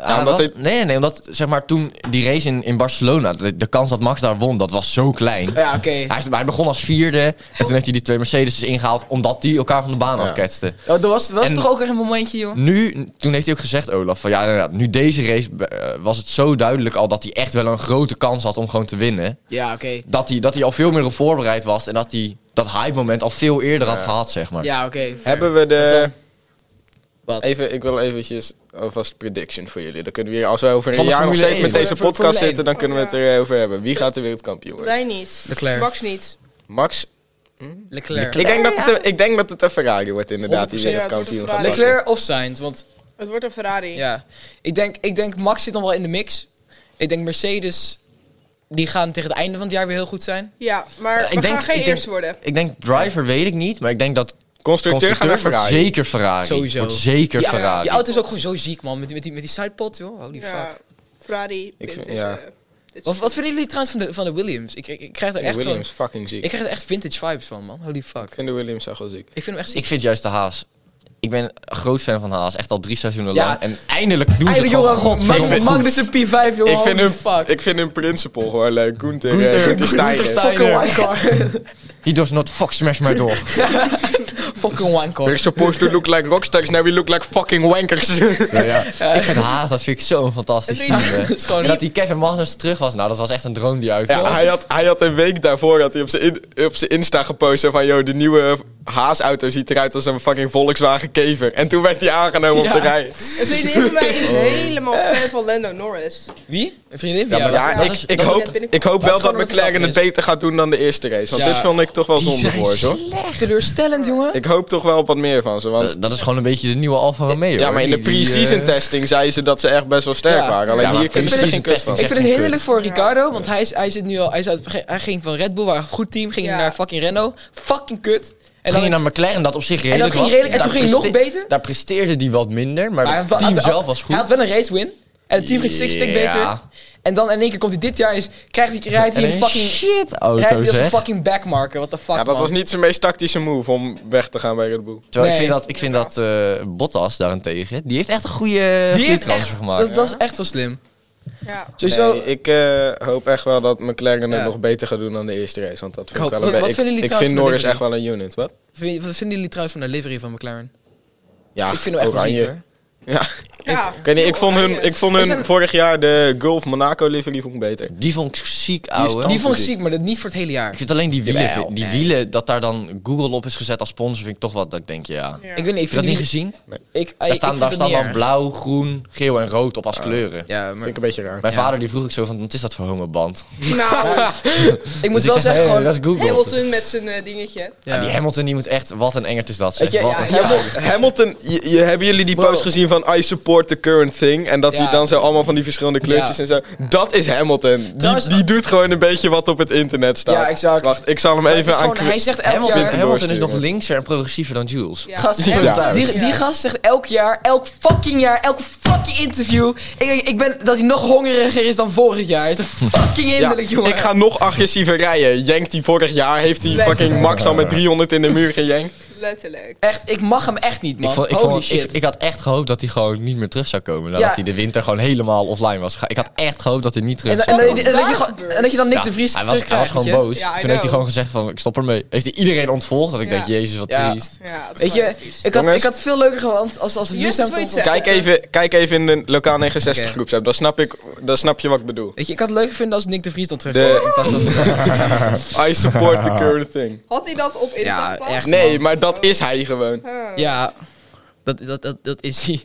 Speaker 5: aan
Speaker 1: omdat
Speaker 5: was.
Speaker 1: hij-
Speaker 5: Nee, nee, omdat zeg maar toen die race in, in Barcelona, de, de kans dat Max daar won, dat was zo klein.
Speaker 3: Ja, oké.
Speaker 5: Hij, is- hij begon als vierde en toen heeft hij die twee Mercedes dus ingehaald omdat die elkaar van de baan afketsten.
Speaker 3: Oh, dat was, dat was
Speaker 5: En- Mm.
Speaker 3: toch ook echt een momentje, joh.
Speaker 5: Nu, toen heeft hij ook gezegd, Olaf, van ja, inderdaad, nu deze race eh, was het zo duidelijk al dat hij echt wel een grote kans had om gewoon te winnen.
Speaker 3: Ja, oké.
Speaker 5: Dat hij, dat hij al veel meer op voorbereid was en dat hij dat hype moment al veel eerder had gehad, zeg maar.
Speaker 3: Ja, oké. fair.
Speaker 1: Hebben we
Speaker 3: Dat
Speaker 1: de...
Speaker 3: is Wat?
Speaker 1: Even, ik wil eventjes alvast prediction voor jullie. Dan kunnen we hier, als we over
Speaker 5: Van
Speaker 1: een
Speaker 5: de
Speaker 1: jaar nog
Speaker 5: Formule
Speaker 1: steeds met
Speaker 5: 1.
Speaker 1: deze
Speaker 3: Voor de- voor de
Speaker 1: podcast
Speaker 3: Formule
Speaker 1: zitten, dan kunnen we het erover hebben. Wie gaat de wereldkampioen worden?
Speaker 2: Wij niet.
Speaker 3: Leclerc.
Speaker 2: Max niet.
Speaker 1: Max?
Speaker 3: Leclerc.
Speaker 1: Ik denk, dat het, een- ik denk dat het een Ferrari wordt inderdaad, die
Speaker 2: 100% ja, het
Speaker 1: wereldkampioen
Speaker 2: wordt een
Speaker 1: gaat
Speaker 2: Ferrari.
Speaker 1: worden.
Speaker 3: Leclerc of Sainz, want
Speaker 2: Het wordt een Ferrari.
Speaker 3: ja. Ik denk, ik denk Max zit nog wel in de mix. Ik denk Mercedes, die gaan tegen het einde van het jaar weer heel goed zijn.
Speaker 2: Ja, maar
Speaker 5: ik
Speaker 2: we
Speaker 5: denk-
Speaker 2: gaan geen
Speaker 5: ik denk-
Speaker 2: eerste worden.
Speaker 5: Ik denk driver weet ik niet, maar ik denk dat
Speaker 1: Constructeur gaat naar
Speaker 5: constructeur wordt
Speaker 1: Ferrari.
Speaker 5: zeker Ferrari.
Speaker 3: Sowieso.
Speaker 5: Wordt zeker
Speaker 3: Ja,
Speaker 5: Ferrari.
Speaker 3: Die auto is ook gewoon zo ziek, man. Met die, met die, met die sidepod, joh. Holy
Speaker 2: Ja,
Speaker 3: fuck.
Speaker 2: Ferrari.
Speaker 1: Ik vind-
Speaker 2: wint
Speaker 1: ja.
Speaker 2: deze- dit
Speaker 3: Wat, wat vinden jullie trouwens van de, van de Williams? Ik, ik, ik krijg er echt van-
Speaker 1: Williams, fucking ziek.
Speaker 3: ik
Speaker 1: Ik
Speaker 3: krijg er echt vintage vibes van, man. Holy fuck.
Speaker 1: vind de Williams echt wel ziek.
Speaker 3: Ik vind hem echt ziek.
Speaker 5: Dus Ik vind juist de Haas. Ik ben een groot fan van Haas. Echt al drie seizoenen
Speaker 3: Ja.
Speaker 5: lang. En eindelijk doen ze het gewoon.
Speaker 3: Mag-
Speaker 5: godverdomme goed.
Speaker 3: Magnus een P5, joh.
Speaker 1: Ik vind,
Speaker 3: holy
Speaker 1: hun,
Speaker 3: fuck.
Speaker 1: ik vind hun principle gewoon leuk. Gunther, eh,
Speaker 5: Gunther-
Speaker 1: Gunther Steiner.
Speaker 5: Gunther
Speaker 3: Fucking
Speaker 5: Steiner.
Speaker 3: winecard.
Speaker 5: He does not fuck smash my door.
Speaker 3: Fucking
Speaker 1: We're
Speaker 3: winecard.
Speaker 1: supposed to look like rockstars, now we look like fucking wankers.
Speaker 5: ja, ja. Ik vind Haas, dat vind ik zo'n fantastisch team.
Speaker 2: Vrienden.
Speaker 5: hè.
Speaker 3: is gewoon-
Speaker 5: En dat die Kevin Magnus terug was, nou dat was echt een droom die uitkwam.
Speaker 1: Ja, hij had, hij had een week daarvoor had hij op zijn, in- op zijn Insta gepost zo van... ...joh, de nieuwe Haas-auto ziet eruit als een fucking Volkswagen Kever. En toen werd hij aangenomen
Speaker 3: Ja.
Speaker 1: op de rij.
Speaker 2: Een vriendin van mij is helemaal fan van Lando Norris.
Speaker 3: Wie? Een vriendin van
Speaker 5: Ja,
Speaker 3: jou?
Speaker 5: maar
Speaker 1: Ja,
Speaker 2: dat
Speaker 1: ik,
Speaker 5: is-
Speaker 1: ik,
Speaker 5: dat
Speaker 2: is
Speaker 1: hoop,
Speaker 2: net binnen-
Speaker 1: ik hoop
Speaker 3: Dat
Speaker 1: wel
Speaker 3: is
Speaker 1: dat
Speaker 3: gewoon omdat het
Speaker 1: McLaren het
Speaker 3: knap is.
Speaker 1: beter gaat doen dan de eerste race. Want
Speaker 3: Ja.
Speaker 1: dit vond ik toch wel
Speaker 5: Die
Speaker 1: zonde
Speaker 5: zijn
Speaker 1: voor ze, hoor.
Speaker 3: teleurstellend, jongen.
Speaker 1: Ik hoop toch wel wat meer van ze. Want,
Speaker 5: Dat, dat is gewoon een beetje de nieuwe Alfa Romeo.
Speaker 1: ja, maar in de
Speaker 5: hoor. Die- die,
Speaker 1: pre-season
Speaker 5: eh,
Speaker 1: testing zeiden ze dat ze echt best wel sterk
Speaker 3: Ja.
Speaker 1: waren.
Speaker 5: Ja,
Speaker 1: Alleen
Speaker 5: maar
Speaker 1: hier kunnen ze er geen
Speaker 5: pre-season
Speaker 1: kut van.
Speaker 5: testing
Speaker 3: Ik
Speaker 5: echt
Speaker 3: vind het
Speaker 5: een
Speaker 3: hinderlijk voor
Speaker 2: Ja.
Speaker 3: Ricardo, want hij, is, hij zit nu al, hij, is uit, hij ging van Red Bull, waar een goed team, ging
Speaker 2: Ja.
Speaker 3: naar fucking Renault. Fucking kut. En
Speaker 5: En
Speaker 3: dan
Speaker 5: ging
Speaker 3: het-
Speaker 5: naar McLaren, dat op zich redelijk
Speaker 3: ging
Speaker 5: was.
Speaker 3: redelijk- en
Speaker 5: Daar
Speaker 3: toen ging het nog
Speaker 5: preste-
Speaker 3: beter.
Speaker 5: Daar presteerde die wat minder, maar,
Speaker 3: maar hij
Speaker 5: het
Speaker 3: had-
Speaker 5: team
Speaker 3: had-
Speaker 5: zelf was goed.
Speaker 3: Hij had wel een race win. En het team ging six stick beter.
Speaker 5: Ja.
Speaker 3: En dan in één keer komt hij dit jaar eens, krijgt hij, rijdt hij
Speaker 5: En
Speaker 3: een
Speaker 5: een
Speaker 3: fucking...
Speaker 5: shit
Speaker 3: Rijdt hij
Speaker 5: auto's,
Speaker 3: als
Speaker 5: hè.
Speaker 3: een fucking backmarker, what the fuck,
Speaker 1: Ja, dat
Speaker 3: man.
Speaker 1: was niet zijn meest tactische move om weg te gaan bij Red Bull.
Speaker 5: Terwijl ik
Speaker 3: Nee.
Speaker 5: vind dat, ik vind dat eh, Bottas daarentegen, die heeft echt een goede,
Speaker 3: Die
Speaker 5: goede
Speaker 3: heeft echt...
Speaker 5: transfer gemaakt.
Speaker 3: Dat, dat is echt wel slim.
Speaker 2: Ja.
Speaker 3: Sowieso...
Speaker 1: Nee, ik eh, hoop echt wel dat McLaren het
Speaker 3: Dus Ja.
Speaker 1: nog beter gaat doen dan de eerste race. Want dat vind ik,
Speaker 3: hoop-
Speaker 1: wel een
Speaker 3: wat- wat
Speaker 1: beetje-
Speaker 3: vinden
Speaker 1: Ik,
Speaker 3: jullie
Speaker 1: ik vind
Speaker 3: trouwens van de
Speaker 1: Norris echt
Speaker 3: livery?
Speaker 1: wel een unit, wat?
Speaker 3: Vind- wat vinden jullie trouwens van de livery van McLaren?
Speaker 1: Ja,
Speaker 3: ik vind hem echt wel ziek, hoor.
Speaker 1: Ja.
Speaker 2: ja. Nou,
Speaker 1: Ik, weet niet, ik vond hun, ik vond
Speaker 3: Is
Speaker 1: hun
Speaker 3: er-
Speaker 1: vorig jaar de Gulf Monaco livery vond ik beter.
Speaker 5: Die vond ik ziek, ouwe.
Speaker 3: Die vond ik
Speaker 1: ziek.
Speaker 3: ziek, maar dat niet voor het hele jaar.
Speaker 5: Ik vind alleen die wielen,
Speaker 3: Jawel,
Speaker 5: die
Speaker 3: nee.
Speaker 5: wielen, dat daar dan Google op is gezet als sponsor, vind ik toch wat, dat ik denk, ja.
Speaker 2: Ja.
Speaker 3: Ik weet niet, ik
Speaker 5: Heb je dat
Speaker 3: vind die-
Speaker 5: niet gezien?
Speaker 3: Ik,
Speaker 5: Daar staan, daar staan dan
Speaker 3: blauw.
Speaker 5: blauw, groen, geel en rood op als kleuren.
Speaker 3: Oh. Ja,
Speaker 1: Vind
Speaker 3: maar
Speaker 1: ik een beetje raar.
Speaker 5: Mijn
Speaker 3: Ja.
Speaker 5: vader die vroeg ik zo van, wat is dat voor homoband?
Speaker 2: Nou,
Speaker 3: ik moet
Speaker 5: Dus ik
Speaker 3: wel
Speaker 5: zeg,
Speaker 3: zeggen,
Speaker 5: nee,
Speaker 3: gewoon...
Speaker 5: dat is Google.
Speaker 2: Hamilton met zijn eh, dingetje.
Speaker 5: Ja. die Hamilton, die moet echt, wat een engert is dat, zeg.
Speaker 3: Weet je,
Speaker 5: Wat
Speaker 3: ja,
Speaker 5: een-
Speaker 3: ja.
Speaker 1: Hamilton, je, je- hebben jullie die
Speaker 3: Bro.
Speaker 1: post gezien van I support the current thing? En dat
Speaker 3: Ja.
Speaker 1: hij dan zo allemaal van die verschillende kleurtjes
Speaker 3: Ja.
Speaker 1: en zo. Dat is Hamilton.
Speaker 3: Trouwens-
Speaker 1: die, die doet gewoon een beetje wat op het internet staat.
Speaker 3: Ja, exact.
Speaker 1: Wacht, ik zal hem
Speaker 3: Maar het is
Speaker 1: even aan...
Speaker 3: gewoon- hij zegt elk
Speaker 5: Hamilton,
Speaker 3: jaar...
Speaker 1: Hamilton
Speaker 5: Hamilton is nog
Speaker 1: doorsturen.
Speaker 5: linkser en progressiever dan Jules.
Speaker 2: Ja.
Speaker 3: Gast,
Speaker 1: Ja.
Speaker 3: Hamilton-
Speaker 1: Ja.
Speaker 3: die, die
Speaker 2: Ja.
Speaker 3: gast zegt elk jaar, elk fucking jaar, elk fucking interview... Ik, ik ben, dat hij nog hongeriger is dan vorig jaar. Het is toch fucking
Speaker 1: Ja,
Speaker 3: hinderlijk, jongen.
Speaker 1: ik ga nog agressiever rijden. Jankt hij vorig jaar, heeft hij
Speaker 2: Lekker.
Speaker 1: fucking Max al met 300 in de muur gejankt.
Speaker 2: Letterlijk.
Speaker 3: Echt, ik mag hem echt niet, man.
Speaker 5: Ik, vond, ik,
Speaker 3: Holy
Speaker 5: vond,
Speaker 3: shit.
Speaker 5: ik, ik had echt gehoopt dat hij gewoon niet meer terug zou komen. Nadat
Speaker 3: Ja.
Speaker 5: hij de winter gewoon helemaal offline was gegaan. Ik had echt gehoopt dat hij niet terug
Speaker 3: en, dan-
Speaker 5: zou
Speaker 3: en,
Speaker 5: komen.
Speaker 3: dan- en dat je gewoon- en dat je dan Nick
Speaker 5: Ja,
Speaker 3: de Vries
Speaker 5: hij was, hij was
Speaker 3: terugkrijgt,
Speaker 5: gewoon
Speaker 3: weet je.
Speaker 5: boos.
Speaker 2: Ja, I
Speaker 5: Toen heeft hij
Speaker 2: know.
Speaker 5: gewoon gezegd van, ik stop ermee. Heeft hij iedereen ontvolgd? Dat ik
Speaker 2: Ja.
Speaker 5: denk, jezus, wat
Speaker 3: Ja.
Speaker 5: triest.
Speaker 2: Ja, het
Speaker 3: Weet
Speaker 2: is wel
Speaker 3: je,
Speaker 2: triest.
Speaker 3: ik had,
Speaker 1: Jongens.
Speaker 3: ik had veel leuker gehad als, als Lewis
Speaker 2: Justus, wil je iets
Speaker 3: Hamilton...
Speaker 2: zeggen?
Speaker 1: Kijk even, kijk even in de lokaal 69
Speaker 3: Oké.
Speaker 1: groepsapp. Dan snap, ik, dan snap je wat ik bedoel.
Speaker 3: Weet je, ik had het leuker vinden als Nick de Vries dan terugkwam.
Speaker 1: De-
Speaker 3: in plaats van-
Speaker 1: I support the current thing.
Speaker 2: Had hij dat op Insta
Speaker 3: Ja,
Speaker 2: geplaatst?
Speaker 3: echt.
Speaker 1: Nee, maar dat is hij gewoon.
Speaker 2: Huh.
Speaker 3: Ja, dat, dat, dat, dat is hij.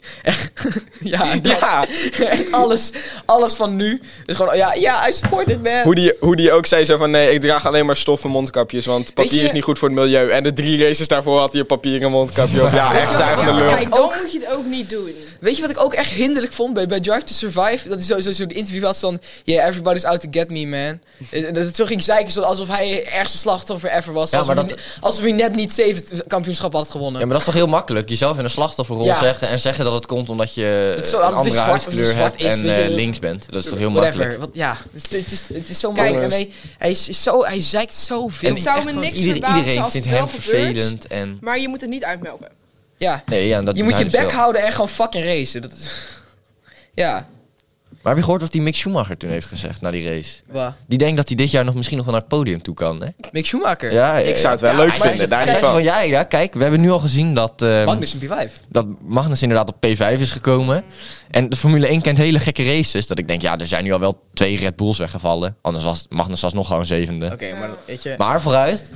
Speaker 3: ja, dat.
Speaker 1: Ja,
Speaker 3: Echt alles, alles van nu is gewoon, ja, ja, hij support it, man.
Speaker 1: hoe die, hoe die ook zei zo van nee, ik draag alleen maar stoffen mondkapjes, want papier
Speaker 3: je-
Speaker 1: is niet goed voor het milieu. En de drie races daarvoor had hij een papieren mondkapje op. Ja, echt zuigende
Speaker 2: Ja,
Speaker 1: lul.
Speaker 2: Kijk, dan moet je het ook niet doen.
Speaker 3: Weet je wat ik ook echt hinderlijk vond bij, bij Drive to Survive? Dat hij sowieso zo de interview had van, yeah, everybody's out to get me, man. Eh, Dat het zo ging zeiken, zo alsof hij ergens een slachtoffer ever was.
Speaker 5: Ja,
Speaker 3: alsof,
Speaker 5: maar
Speaker 3: hij,
Speaker 5: dat-
Speaker 3: ne- alsof hij net niet zeven kampioenschap had gewonnen.
Speaker 5: Ja, maar dat is toch heel makkelijk. Jezelf in een slachtofferrol
Speaker 3: Ja.
Speaker 5: zeggen en zeggen dat het komt omdat je
Speaker 3: is zo-
Speaker 5: een
Speaker 3: omdat het
Speaker 5: andere
Speaker 3: zwart-
Speaker 5: huidskleur
Speaker 3: omdat het
Speaker 5: hebt
Speaker 3: zwart is,
Speaker 5: en
Speaker 3: weet je.
Speaker 5: eh, links bent. Dat is toch heel
Speaker 3: Whatever.
Speaker 5: makkelijk.
Speaker 3: Wat, ja, het, is- het is, het is zo
Speaker 2: Kijk,
Speaker 3: makkelijk. En hij, hij, is zo, hij zeikt zoveel.
Speaker 2: Het zou
Speaker 3: Echt
Speaker 2: me
Speaker 3: gewoon-
Speaker 2: niks
Speaker 5: Ieder-
Speaker 2: verbazen
Speaker 5: iedereen
Speaker 2: als
Speaker 5: vindt
Speaker 2: het wel
Speaker 5: hem
Speaker 2: gebeurt.
Speaker 5: vervelend en...
Speaker 2: Maar je moet het niet uitmelken.
Speaker 3: Ja,
Speaker 5: Nee, ja, dat
Speaker 3: je
Speaker 5: doet
Speaker 3: moet
Speaker 5: hij
Speaker 3: je
Speaker 5: dus
Speaker 3: bek
Speaker 5: wel.
Speaker 3: houden en gewoon fucking racen. Dat is... Ja,
Speaker 5: Maar heb je gehoord wat die Mick Schumacher toen heeft gezegd na die race?
Speaker 3: wa.
Speaker 5: Die denkt dat hij dit jaar nog misschien nog wel naar het podium toe kan, hè?
Speaker 3: Mick Schumacher.
Speaker 5: Ja,
Speaker 1: Ik zou het wel leuk vinden, daar niet
Speaker 5: Hij zei
Speaker 1: van.
Speaker 5: van, ja, ja, kijk, we hebben nu al gezien dat, ehm,
Speaker 3: Magnus in P5.
Speaker 5: dat Magnus inderdaad op P5 is gekomen. En de Formule 1 kent hele gekke races. Dat ik denk, ja, er zijn nu al wel twee Red Bulls weggevallen. Anders was Magnus was nog gewoon zevende.
Speaker 3: Oké, maar weet je...
Speaker 5: Maar vooruit,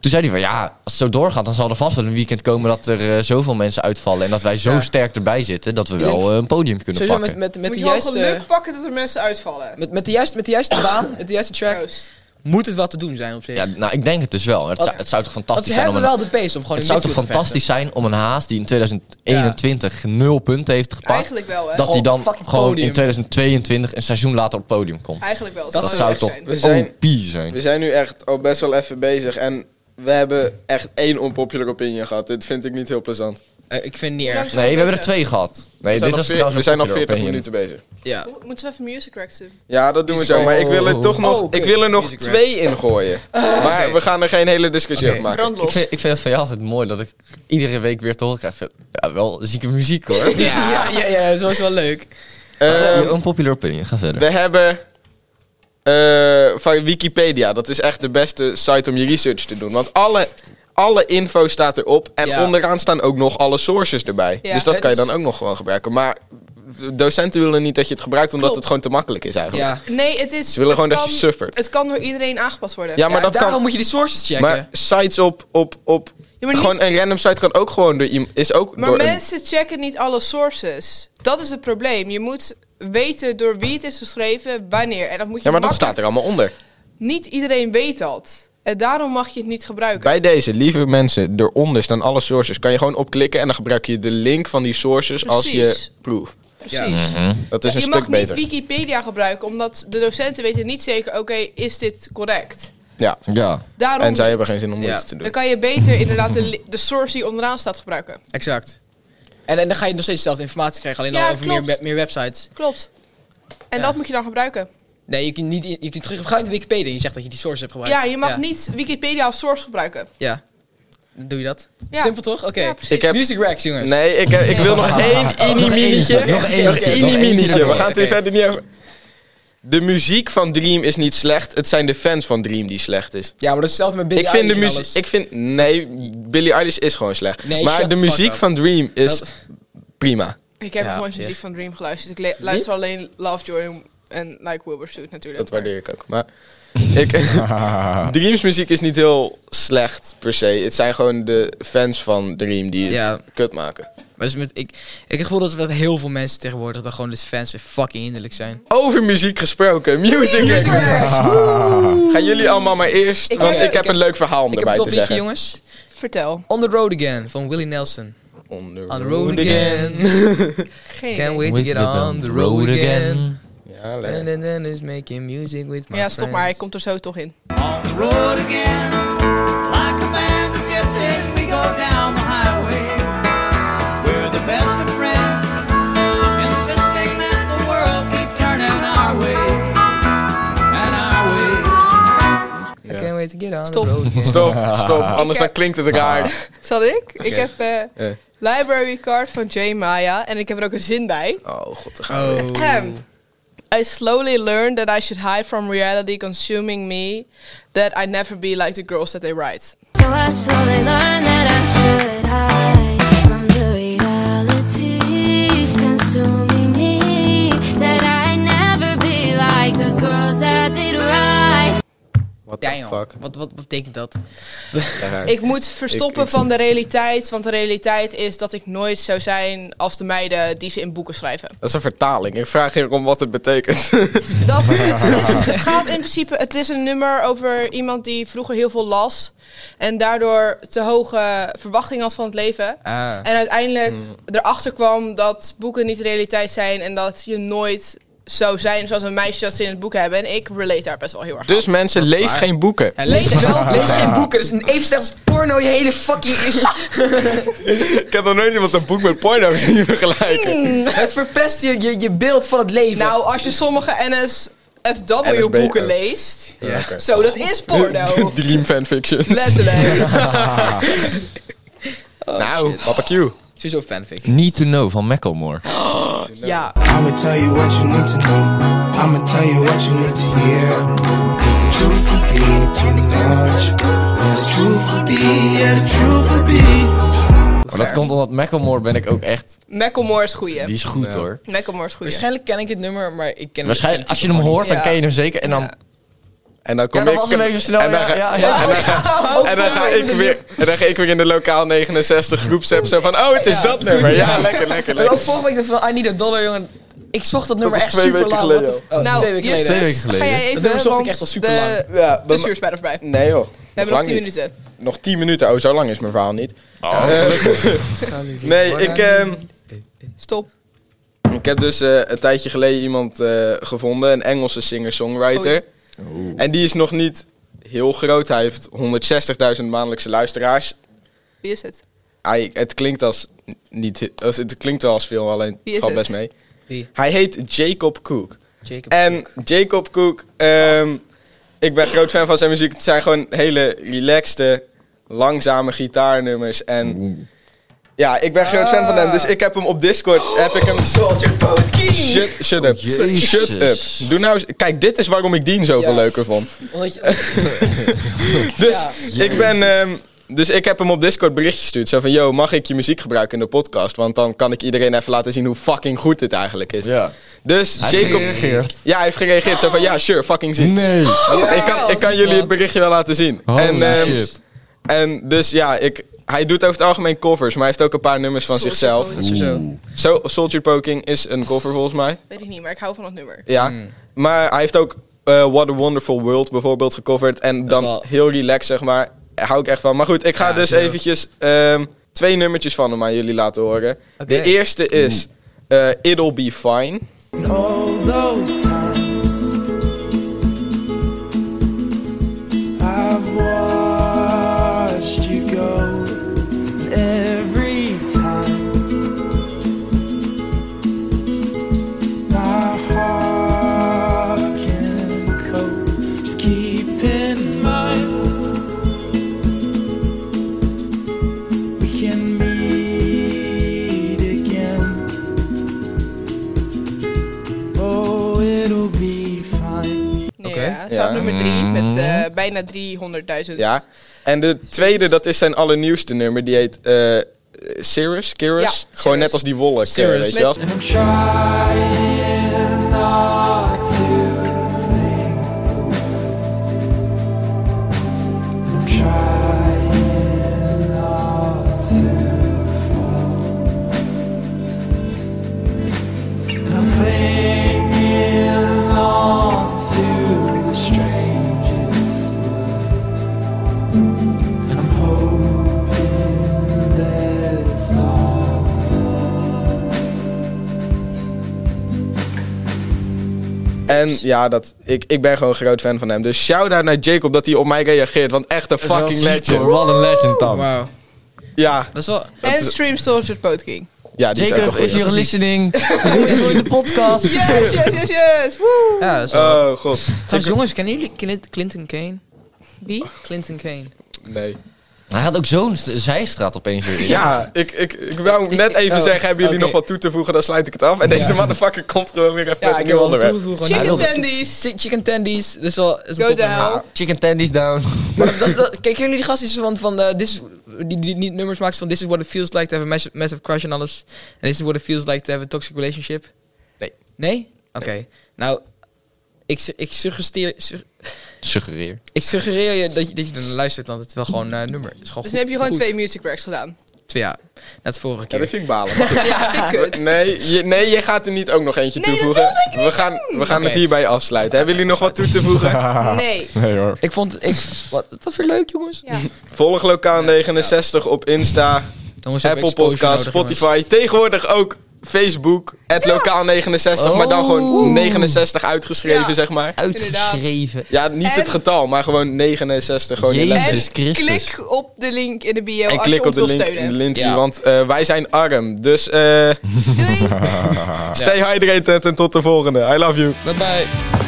Speaker 5: toen zei hij van, ja, als het zo doorgaat... dan zal er vast wel een weekend komen dat er eh, zoveel mensen uitvallen... en dat wij zo
Speaker 3: Ja.
Speaker 5: sterk erbij zitten dat we wel
Speaker 3: denk-
Speaker 5: eh, een podium kunnen
Speaker 3: Sowieso
Speaker 5: pakken.
Speaker 3: met, met, met,
Speaker 2: Moet
Speaker 3: de
Speaker 2: je wel geluk
Speaker 3: juiste,
Speaker 2: pakken dat er mensen uitvallen.
Speaker 3: met, met, de juiste, met de juiste baan, met de juiste track,
Speaker 2: Proost.
Speaker 3: moet het wel te doen zijn op zich.
Speaker 5: Ja, nou, ik denk het dus wel. Het,
Speaker 3: Want-
Speaker 5: zou, het zou toch
Speaker 3: Want
Speaker 5: fantastisch
Speaker 3: ze
Speaker 5: zijn om
Speaker 3: hebben
Speaker 5: een
Speaker 3: wel de pace om gewoon
Speaker 5: Het
Speaker 3: in
Speaker 5: zou toch
Speaker 3: midfield te
Speaker 5: fantastisch zijn om een haas die in 2021 nul punten heeft gepakt.
Speaker 2: Eigenlijk wel, hè?
Speaker 5: dat hij
Speaker 3: Gewoon
Speaker 5: dan
Speaker 3: fucking
Speaker 5: gewoon
Speaker 3: podium.
Speaker 5: in 2022 een seizoen later op het podium komt.
Speaker 2: Eigenlijk wel.
Speaker 5: dat
Speaker 2: wel
Speaker 5: zou
Speaker 2: leuk
Speaker 5: toch
Speaker 2: zijn.
Speaker 1: We zijn-
Speaker 5: OP zijn.
Speaker 1: We zijn nu echt al best wel even bezig en we hebben echt één onpopular opinion gehad. Dit vind ik niet heel plezant.
Speaker 3: vechten. Eh, ik vind het niet erg.
Speaker 2: Bedankt.
Speaker 5: Nee, we hebben er twee gehad. Nee,
Speaker 1: We zijn al
Speaker 5: dit was
Speaker 1: veer-
Speaker 5: trouwens
Speaker 1: we
Speaker 5: een
Speaker 1: zijn al
Speaker 5: popular
Speaker 1: 40 minuten
Speaker 5: opinion.
Speaker 1: bezig.
Speaker 3: Ja.
Speaker 2: Mo- Moeten we even music racks doen?
Speaker 1: Ja, dat doen we
Speaker 3: Music
Speaker 1: zo. Maar
Speaker 3: Racks.
Speaker 1: ik wil er
Speaker 5: Oh.
Speaker 1: toch nog,
Speaker 3: Oh,
Speaker 1: ik
Speaker 3: kut.
Speaker 1: wil er nog
Speaker 3: Music
Speaker 1: twee in gooien. maar
Speaker 3: Ah. oké.
Speaker 1: we gaan er geen hele discussie
Speaker 3: Oké.
Speaker 1: over maken.
Speaker 5: Ik vind, ik vind het van jou altijd mooi dat ik iedere week weer te horen krijg. van, Ja, wel zieke muziek hoor.
Speaker 3: Ja, ja, ja, zo is wel leuk.
Speaker 1: Ehm,
Speaker 5: een popular opinion, ga verder.
Speaker 1: we hebben eh, van Wikipedia. Dat is echt de beste site om je research te doen. Want alle, alle info staat erop. En
Speaker 3: Ja.
Speaker 1: onderaan staan ook nog alle sources erbij.
Speaker 2: Ja.
Speaker 1: dus dat
Speaker 3: Het
Speaker 1: kan je
Speaker 3: is-
Speaker 1: dan ook nog gewoon gebruiken. Maar docenten willen niet dat je het gebruikt, omdat
Speaker 2: Klopt.
Speaker 1: het gewoon te makkelijk is eigenlijk.
Speaker 3: Ja.
Speaker 2: Nee, het is.
Speaker 1: Ze willen
Speaker 2: het
Speaker 1: gewoon dat je
Speaker 2: kan-
Speaker 1: suffert.
Speaker 2: Het kan door iedereen aangepast worden.
Speaker 1: Ja, maar
Speaker 3: Ja,
Speaker 1: dat
Speaker 3: daarom
Speaker 1: kan.
Speaker 3: moet je die sources checken.
Speaker 1: Maar sites op. op, op
Speaker 2: Ja, maar niet-
Speaker 1: gewoon een random site kan ook gewoon door iemand. Is ook
Speaker 2: Maar
Speaker 1: door een-
Speaker 2: mensen checken niet alle sources. Dat is het probleem. Je moet weten door wie het is geschreven, wanneer. En dat moet je
Speaker 1: Ja, maar dat
Speaker 2: makkelijk-
Speaker 1: staat er allemaal onder.
Speaker 2: Niet iedereen weet dat. En daarom mag je het niet gebruiken.
Speaker 1: Bij deze, lieve mensen, eronder staan alle sources. Kan je gewoon opklikken en dan gebruik je de link van die sources als je
Speaker 2: Precies.
Speaker 1: proof.
Speaker 2: Precies.
Speaker 1: Dat is een
Speaker 2: je
Speaker 1: stuk
Speaker 2: mag
Speaker 1: beter.
Speaker 2: niet Wikipedia gebruiken, omdat de docenten weten niet zeker, oké, is dit correct?
Speaker 1: Ja.
Speaker 5: Ja.
Speaker 2: Daarom
Speaker 1: En zij hebben geen zin om moeite
Speaker 3: Ja.
Speaker 1: te
Speaker 2: Dan
Speaker 1: doen.
Speaker 2: kan je beter inderdaad de, li- de source die onderaan staat gebruiken.
Speaker 3: Exact. En, en dan ga je nog steeds dezelfde informatie krijgen, alleen
Speaker 2: Ja,
Speaker 3: al over meer,
Speaker 2: klopt.
Speaker 3: we- meer websites.
Speaker 2: Klopt. En
Speaker 3: Ja.
Speaker 2: dat moet je dan gebruiken.
Speaker 3: Nee, je kunt niet, je kunt gebruiken Wikipedia en je zegt dat je die source hebt gebruikt.
Speaker 2: Ja, je mag niet Wikipedia als source gebruiken.
Speaker 3: Ja. Dan doe je dat.
Speaker 2: Ja.
Speaker 3: Simpel toch? Oké.
Speaker 2: Ja, precies.
Speaker 1: Ik heb-
Speaker 3: Music racks, jongens.
Speaker 1: Nee, ik, eh, ik wil nog één iniminietje.
Speaker 5: Nog één.
Speaker 1: Nog
Speaker 5: Oké,
Speaker 1: één
Speaker 5: nog één.
Speaker 1: iniminietje. We gaan het hier
Speaker 3: Oké.
Speaker 1: verder niet over. De muziek van Dream is niet slecht. Het zijn de fans van Dream die slecht is.
Speaker 3: Ja, maar dat is hetzelfde met Billie
Speaker 1: Ik vind de
Speaker 3: Eilish en
Speaker 1: muziek.
Speaker 3: alles.
Speaker 1: Ik vind. Nee, Billie Eilish is gewoon slecht.
Speaker 3: Nee,
Speaker 1: maar
Speaker 3: shut
Speaker 1: de
Speaker 3: the fuck
Speaker 1: muziek
Speaker 3: up.
Speaker 1: van Dream is
Speaker 3: Dat-
Speaker 1: prima.
Speaker 2: Ik heb
Speaker 3: Ja,
Speaker 2: nog
Speaker 3: op
Speaker 2: nooit
Speaker 3: zich.
Speaker 2: muziek van Dream geluisterd. Ik le- luister alleen Lovejoy en Like Wilbur natuurlijk.
Speaker 1: Dat waardeer ik ook. Maar ik, Dreams muziek is niet heel slecht per se. Het zijn gewoon de fans van Dream die het
Speaker 3: Ja.
Speaker 1: kut maken.
Speaker 3: Maar dus met, ik, ik heb het gevoel dat met heel veel mensen tegenwoordig dat gewoon de fans fucking hinderlijk zijn.
Speaker 1: Over muziek gesproken. Music. Gaan jullie allemaal maar eerst.
Speaker 2: Ik
Speaker 1: want
Speaker 2: heb-
Speaker 1: ik heb
Speaker 3: ik heb-
Speaker 1: een leuk verhaal om
Speaker 3: ik heb een
Speaker 1: erbij
Speaker 3: top
Speaker 1: te
Speaker 3: liedje,
Speaker 1: zeggen.
Speaker 3: jongens.
Speaker 2: Vertel.
Speaker 3: On the Road Again van Willie Nelson.
Speaker 1: On the
Speaker 3: On the road again.
Speaker 2: Geen
Speaker 3: Can't
Speaker 2: idee.
Speaker 3: wait to get on the road again.
Speaker 1: Ja,
Speaker 3: And
Speaker 1: leuk.
Speaker 3: then- then is making music with my
Speaker 2: Ja, stop maar. Hij
Speaker 3: friends.
Speaker 2: komt er zo toch in.
Speaker 6: On the road again, like a band of gypsies, we go down the highway. We're the best of friends, insisting that the world keep turning our way and our way.
Speaker 3: I can't wait to get on
Speaker 2: Stop.
Speaker 3: the road again.
Speaker 1: Stop, stop. Anders
Speaker 2: heb-
Speaker 1: dan klinkt het raar.
Speaker 2: Zal ik? Ik heb eh,
Speaker 1: Eh.
Speaker 2: Library Card van Jay Maya. En ik heb er ook een zin bij.
Speaker 1: Oh god, daar gaan we. weer.
Speaker 2: Ehm.
Speaker 3: Oh.
Speaker 2: I slowly learned that I should hide from reality consuming me. That I'd never be like the girls that they write.
Speaker 7: So I slowly learned that I should hide from the reality consuming me. That I never be like the girls that did right.
Speaker 1: What the
Speaker 3: Damn.
Speaker 1: fuck.
Speaker 3: Wat, wat betekent dat?
Speaker 1: Daaruit.
Speaker 2: Ik moet verstoppen
Speaker 1: ik-
Speaker 2: van de realiteit. Want de realiteit is dat ik nooit zou zijn als de meiden die ze in boeken schrijven.
Speaker 1: Dat is een vertaling. Ik vraag hier om wat het betekent.
Speaker 2: Dat het gaat in principe. Het is een nummer over iemand die vroeger heel veel las. En daardoor te hoge verwachtingen had van het leven.
Speaker 3: Ah.
Speaker 2: En uiteindelijk erachter kwam dat boeken niet de realiteit zijn. En dat je nooit zou zijn zoals een meisje dat ze in het boek hebben. En ik relate daar best wel heel erg aan.
Speaker 1: Dus mensen, lees geen boeken.
Speaker 3: Ja, lees wel, lees geen boeken. Dat is een even slecht als porno, je hele fucking...
Speaker 1: Ik heb nog nooit iemand een boek met porno zien vergelijken.
Speaker 3: het verpest je, je, je beeld van het leven.
Speaker 2: Nou, als je sommige NSFW
Speaker 3: uh,
Speaker 1: NSB
Speaker 2: boeken
Speaker 1: ook.
Speaker 2: leest.
Speaker 1: Ja.
Speaker 2: Zo, dat is porno.
Speaker 1: Dream fanfictions.
Speaker 2: Letterlijk.
Speaker 1: nou, wat een cue.
Speaker 3: Sowieso fanfic.
Speaker 5: Need to know van Macklemore.
Speaker 2: Ja.
Speaker 8: I'ma tell you what you need to know. I'ma tell you what you need to hear. Cause the truth would be too much. Yeah, the truth would be, yeah, the truth would be.
Speaker 5: Maar dat komt omdat Macklemore ben ik ook echt...
Speaker 2: Macklemore is goeie.
Speaker 5: Die is goed hoor.
Speaker 2: Macklemore is goeie.
Speaker 3: Waarschijnlijk ken ik het nummer, maar ik ken
Speaker 5: Waarschijnlijk,
Speaker 3: het
Speaker 5: als je hem hoort, dan
Speaker 2: Ja.
Speaker 5: ken je hem zeker. En dan...
Speaker 2: Ja.
Speaker 1: En dan kom
Speaker 5: Ja, dat
Speaker 1: ik...
Speaker 5: was hem even snel,
Speaker 1: En dan,
Speaker 5: ja,
Speaker 1: ga,
Speaker 5: ja, ja.
Speaker 1: En dan, ga, en dan ga ik weer, en dan ga ik weer in de lokaal 69 groepsapp zo van... Oh, het is dat nummer. Ja, lekker, lekker,
Speaker 3: Maar ook
Speaker 1: lekker.
Speaker 3: vorige week dacht ik van I Need a Dollar, jongen. Ik zocht dat nummer
Speaker 1: is
Speaker 3: echt
Speaker 1: twee
Speaker 3: super
Speaker 1: weken
Speaker 3: lang.
Speaker 1: geleden,
Speaker 3: What the f- oh,
Speaker 2: nou,
Speaker 3: twee weken
Speaker 2: Justus,
Speaker 3: geleden.
Speaker 5: Twee weken geleden.
Speaker 2: ga jij even,
Speaker 3: Dat nummer zocht ik
Speaker 2: want eh,
Speaker 3: echt al superlang.
Speaker 2: de
Speaker 1: Ja,
Speaker 2: tussen is bijna voorbij.
Speaker 1: Nee joh.
Speaker 2: We hebben nog 10 minuten.
Speaker 1: Nog 10 minuten. Oh, zo lang is mijn verhaal niet. Eh, nee, ik, ehm,
Speaker 2: Stop.
Speaker 1: ik heb dus eh, een tijdje geleden iemand eh, gevonden. Een Engelse singer-songwriter. En die is nog niet heel groot. Hij heeft 160.000 maandelijkse luisteraars.
Speaker 2: Wie is het?
Speaker 1: Hij, het klinkt als niet, als, het klinkt wel als veel, alleen het
Speaker 2: Wie is
Speaker 1: valt
Speaker 2: het?
Speaker 1: best mee.
Speaker 3: Wie?
Speaker 1: Hij heet Jacob Cook.
Speaker 3: Jacob.
Speaker 1: En Jacob Cook, ehm, ik ben groot fan van zijn muziek. Het zijn gewoon hele relaxte, langzame gitaarnummers. En ja, ik ben groot fan van hem.
Speaker 2: Ah.
Speaker 1: Dus ik heb hem op Discord. Heb ik hem. Shut, shut up.
Speaker 5: Jezus.
Speaker 1: Shut up. Doe nou eens. Kijk, dit is waarom ik Dean zoveel
Speaker 3: Ja.
Speaker 1: leuker vond.
Speaker 3: Omdat je, oh,
Speaker 1: Dus
Speaker 3: Ja.
Speaker 1: ik ben. ehm, dus ik heb hem op Discord berichtje gestuurd. Zo van, yo, mag ik je muziek gebruiken in de podcast? Want dan kan ik iedereen even laten zien hoe fucking goed dit eigenlijk is. Dus
Speaker 5: Hij heeft
Speaker 1: Jacob...
Speaker 5: gereageerd.
Speaker 1: Ja, hij heeft gereageerd. Zo van, ja, sure, fucking zien.
Speaker 5: Nee.
Speaker 1: ik, kan, ik kan jullie het berichtje wel laten zien.
Speaker 5: Holy
Speaker 1: en, ehm,
Speaker 5: shit.
Speaker 1: en dus ja, ik, hij doet over het algemeen covers. Maar hij heeft ook een paar nummers van zichzelf.
Speaker 3: dat is zo.
Speaker 1: So, Soldier Poking is een cover volgens mij.
Speaker 2: Weet ik niet, maar ik hou van dat nummer.
Speaker 1: Ja. Maar hij heeft ook eh, What a Wonderful World bijvoorbeeld gecoverd. En dan
Speaker 3: wel-
Speaker 1: heel relaxed, zeg maar. Daar Hou ik echt van. Maar goed, ik ga dus eventjes ehm, twee nummertjes van hem aan jullie laten horen. De eerste is eh, It'll Be Fine.
Speaker 9: all those times I've watched you go and every time my heart can cope just keep in mind we can meet again Oh, it'll be fine.
Speaker 2: Ja, staat
Speaker 1: Ja.
Speaker 2: op nummer
Speaker 5: Mm.
Speaker 2: 3 met eh, bijna 300.000.
Speaker 1: Ja. En de tweede, dat is zijn allernieuwste nummer. Die heet eh Cirrus. Cirrus.
Speaker 2: Ja,
Speaker 1: Gewoon
Speaker 2: Cirrus.
Speaker 1: net als die wolk. eh,
Speaker 3: Cirrus.
Speaker 1: Weet je wel?
Speaker 9: I'm trying not to think. I'm trying not to fall. And I'm clinging on to the strangest words. And I'm hoping there's not.
Speaker 1: En ja, dat, ik, ik ben gewoon groot fan van hem. Dus shout-out naar Jacob dat hij op mij reageert. Want echt een fucking legend.
Speaker 5: Wat een legend dan.
Speaker 3: Wauw.
Speaker 1: Ja,
Speaker 3: Dat is wel...
Speaker 2: En Stream Soldier Poetking.
Speaker 1: ja die is echt
Speaker 5: Jacob,
Speaker 1: een goeie.
Speaker 5: is je listening? Enjoy de podcast.
Speaker 2: Yes, yes, yes, yes. Woe.
Speaker 3: Ja, dat is wel...
Speaker 1: Oh, god.
Speaker 3: Trouwens, jongens, kennen jullie Clint- Clinton Kane?
Speaker 2: Wie?
Speaker 3: Clinton Kane.
Speaker 1: Nee.
Speaker 5: Hij had ook zo'n st- zijstraat opeens weer in.
Speaker 1: Ja, ik, ik, ik wou net even
Speaker 3: oh,
Speaker 1: zeggen, hebben jullie
Speaker 3: oké.
Speaker 1: nog wat toe te voegen, dan sluit ik het af. En deze motherfucker komt gewoon weer even met een nieuw
Speaker 3: wel
Speaker 1: onderwerp.
Speaker 3: toegevoegd. Chicken,
Speaker 2: Chicken
Speaker 5: wilde-
Speaker 2: Tendies.
Speaker 3: Nou, chicken tendies, dat is wel... Dat is een
Speaker 2: Go to
Speaker 3: topnummer.
Speaker 2: hell.
Speaker 5: Chicken tendies down.
Speaker 3: Maar dat, dat, kijk, kennen jullie die gastjes van, van eh, this, die, die, die nummers maken van This is what it feels like to have a massive, massive crush en alles. En This is what it feels like to have a toxic relationship.
Speaker 1: Nee.
Speaker 3: Nee? Oké. Nou, ik, su- ik, suggesteer, su-
Speaker 5: Suggereer.
Speaker 3: ik suggereer je dat, je dat je dan luistert, want het is wel gewoon eh, nummer. Het Is gewoon
Speaker 2: Dus
Speaker 3: goed-
Speaker 2: dan heb je gewoon
Speaker 3: goed.
Speaker 2: twee music breaks gedaan.
Speaker 3: Twee, ja. Net vorige
Speaker 1: Ja,
Speaker 3: keer.
Speaker 1: dat vind ik balen. Maar goed.
Speaker 2: Ja, vind ik kut.
Speaker 1: Nee, je, nee, je gaat er niet ook nog eentje
Speaker 2: Nee, dat
Speaker 1: toevoegen.
Speaker 2: wilde ik niet
Speaker 1: we gaan, we gaan het
Speaker 3: Oké.
Speaker 1: hierbij afsluiten. Hebben jullie nog wat toe te voegen?
Speaker 2: Nee.
Speaker 5: Nee hoor.
Speaker 3: ik vond... Ik, wat, wat voor leuk, jongens.
Speaker 2: Ja.
Speaker 1: Volg Lokaal 69 op Insta,
Speaker 3: Jongens, we hebben
Speaker 1: Apple
Speaker 3: exposure
Speaker 1: Podcast,
Speaker 3: nodig, jongens.
Speaker 1: Spotify. Tegenwoordig ook Facebook, het Lokaal 69, maar dan gewoon 69 uitgeschreven,
Speaker 2: Ja.
Speaker 1: zeg maar.
Speaker 5: Uitgeschreven.
Speaker 1: Ja, niet het
Speaker 2: En-
Speaker 1: getal, maar gewoon 69. Gewoon in letters.
Speaker 5: Jezus Christus.
Speaker 2: Klik op de link in de bio
Speaker 1: En
Speaker 2: als
Speaker 1: klik
Speaker 2: je
Speaker 1: op
Speaker 2: ons
Speaker 1: de
Speaker 2: wil
Speaker 1: link in de
Speaker 2: steunen.
Speaker 1: link,
Speaker 3: Ja.
Speaker 1: want eh, wij zijn arm. Dus eh
Speaker 2: Doei.
Speaker 1: stay hydrated en tot de volgende. I love you.
Speaker 3: Bye-bye.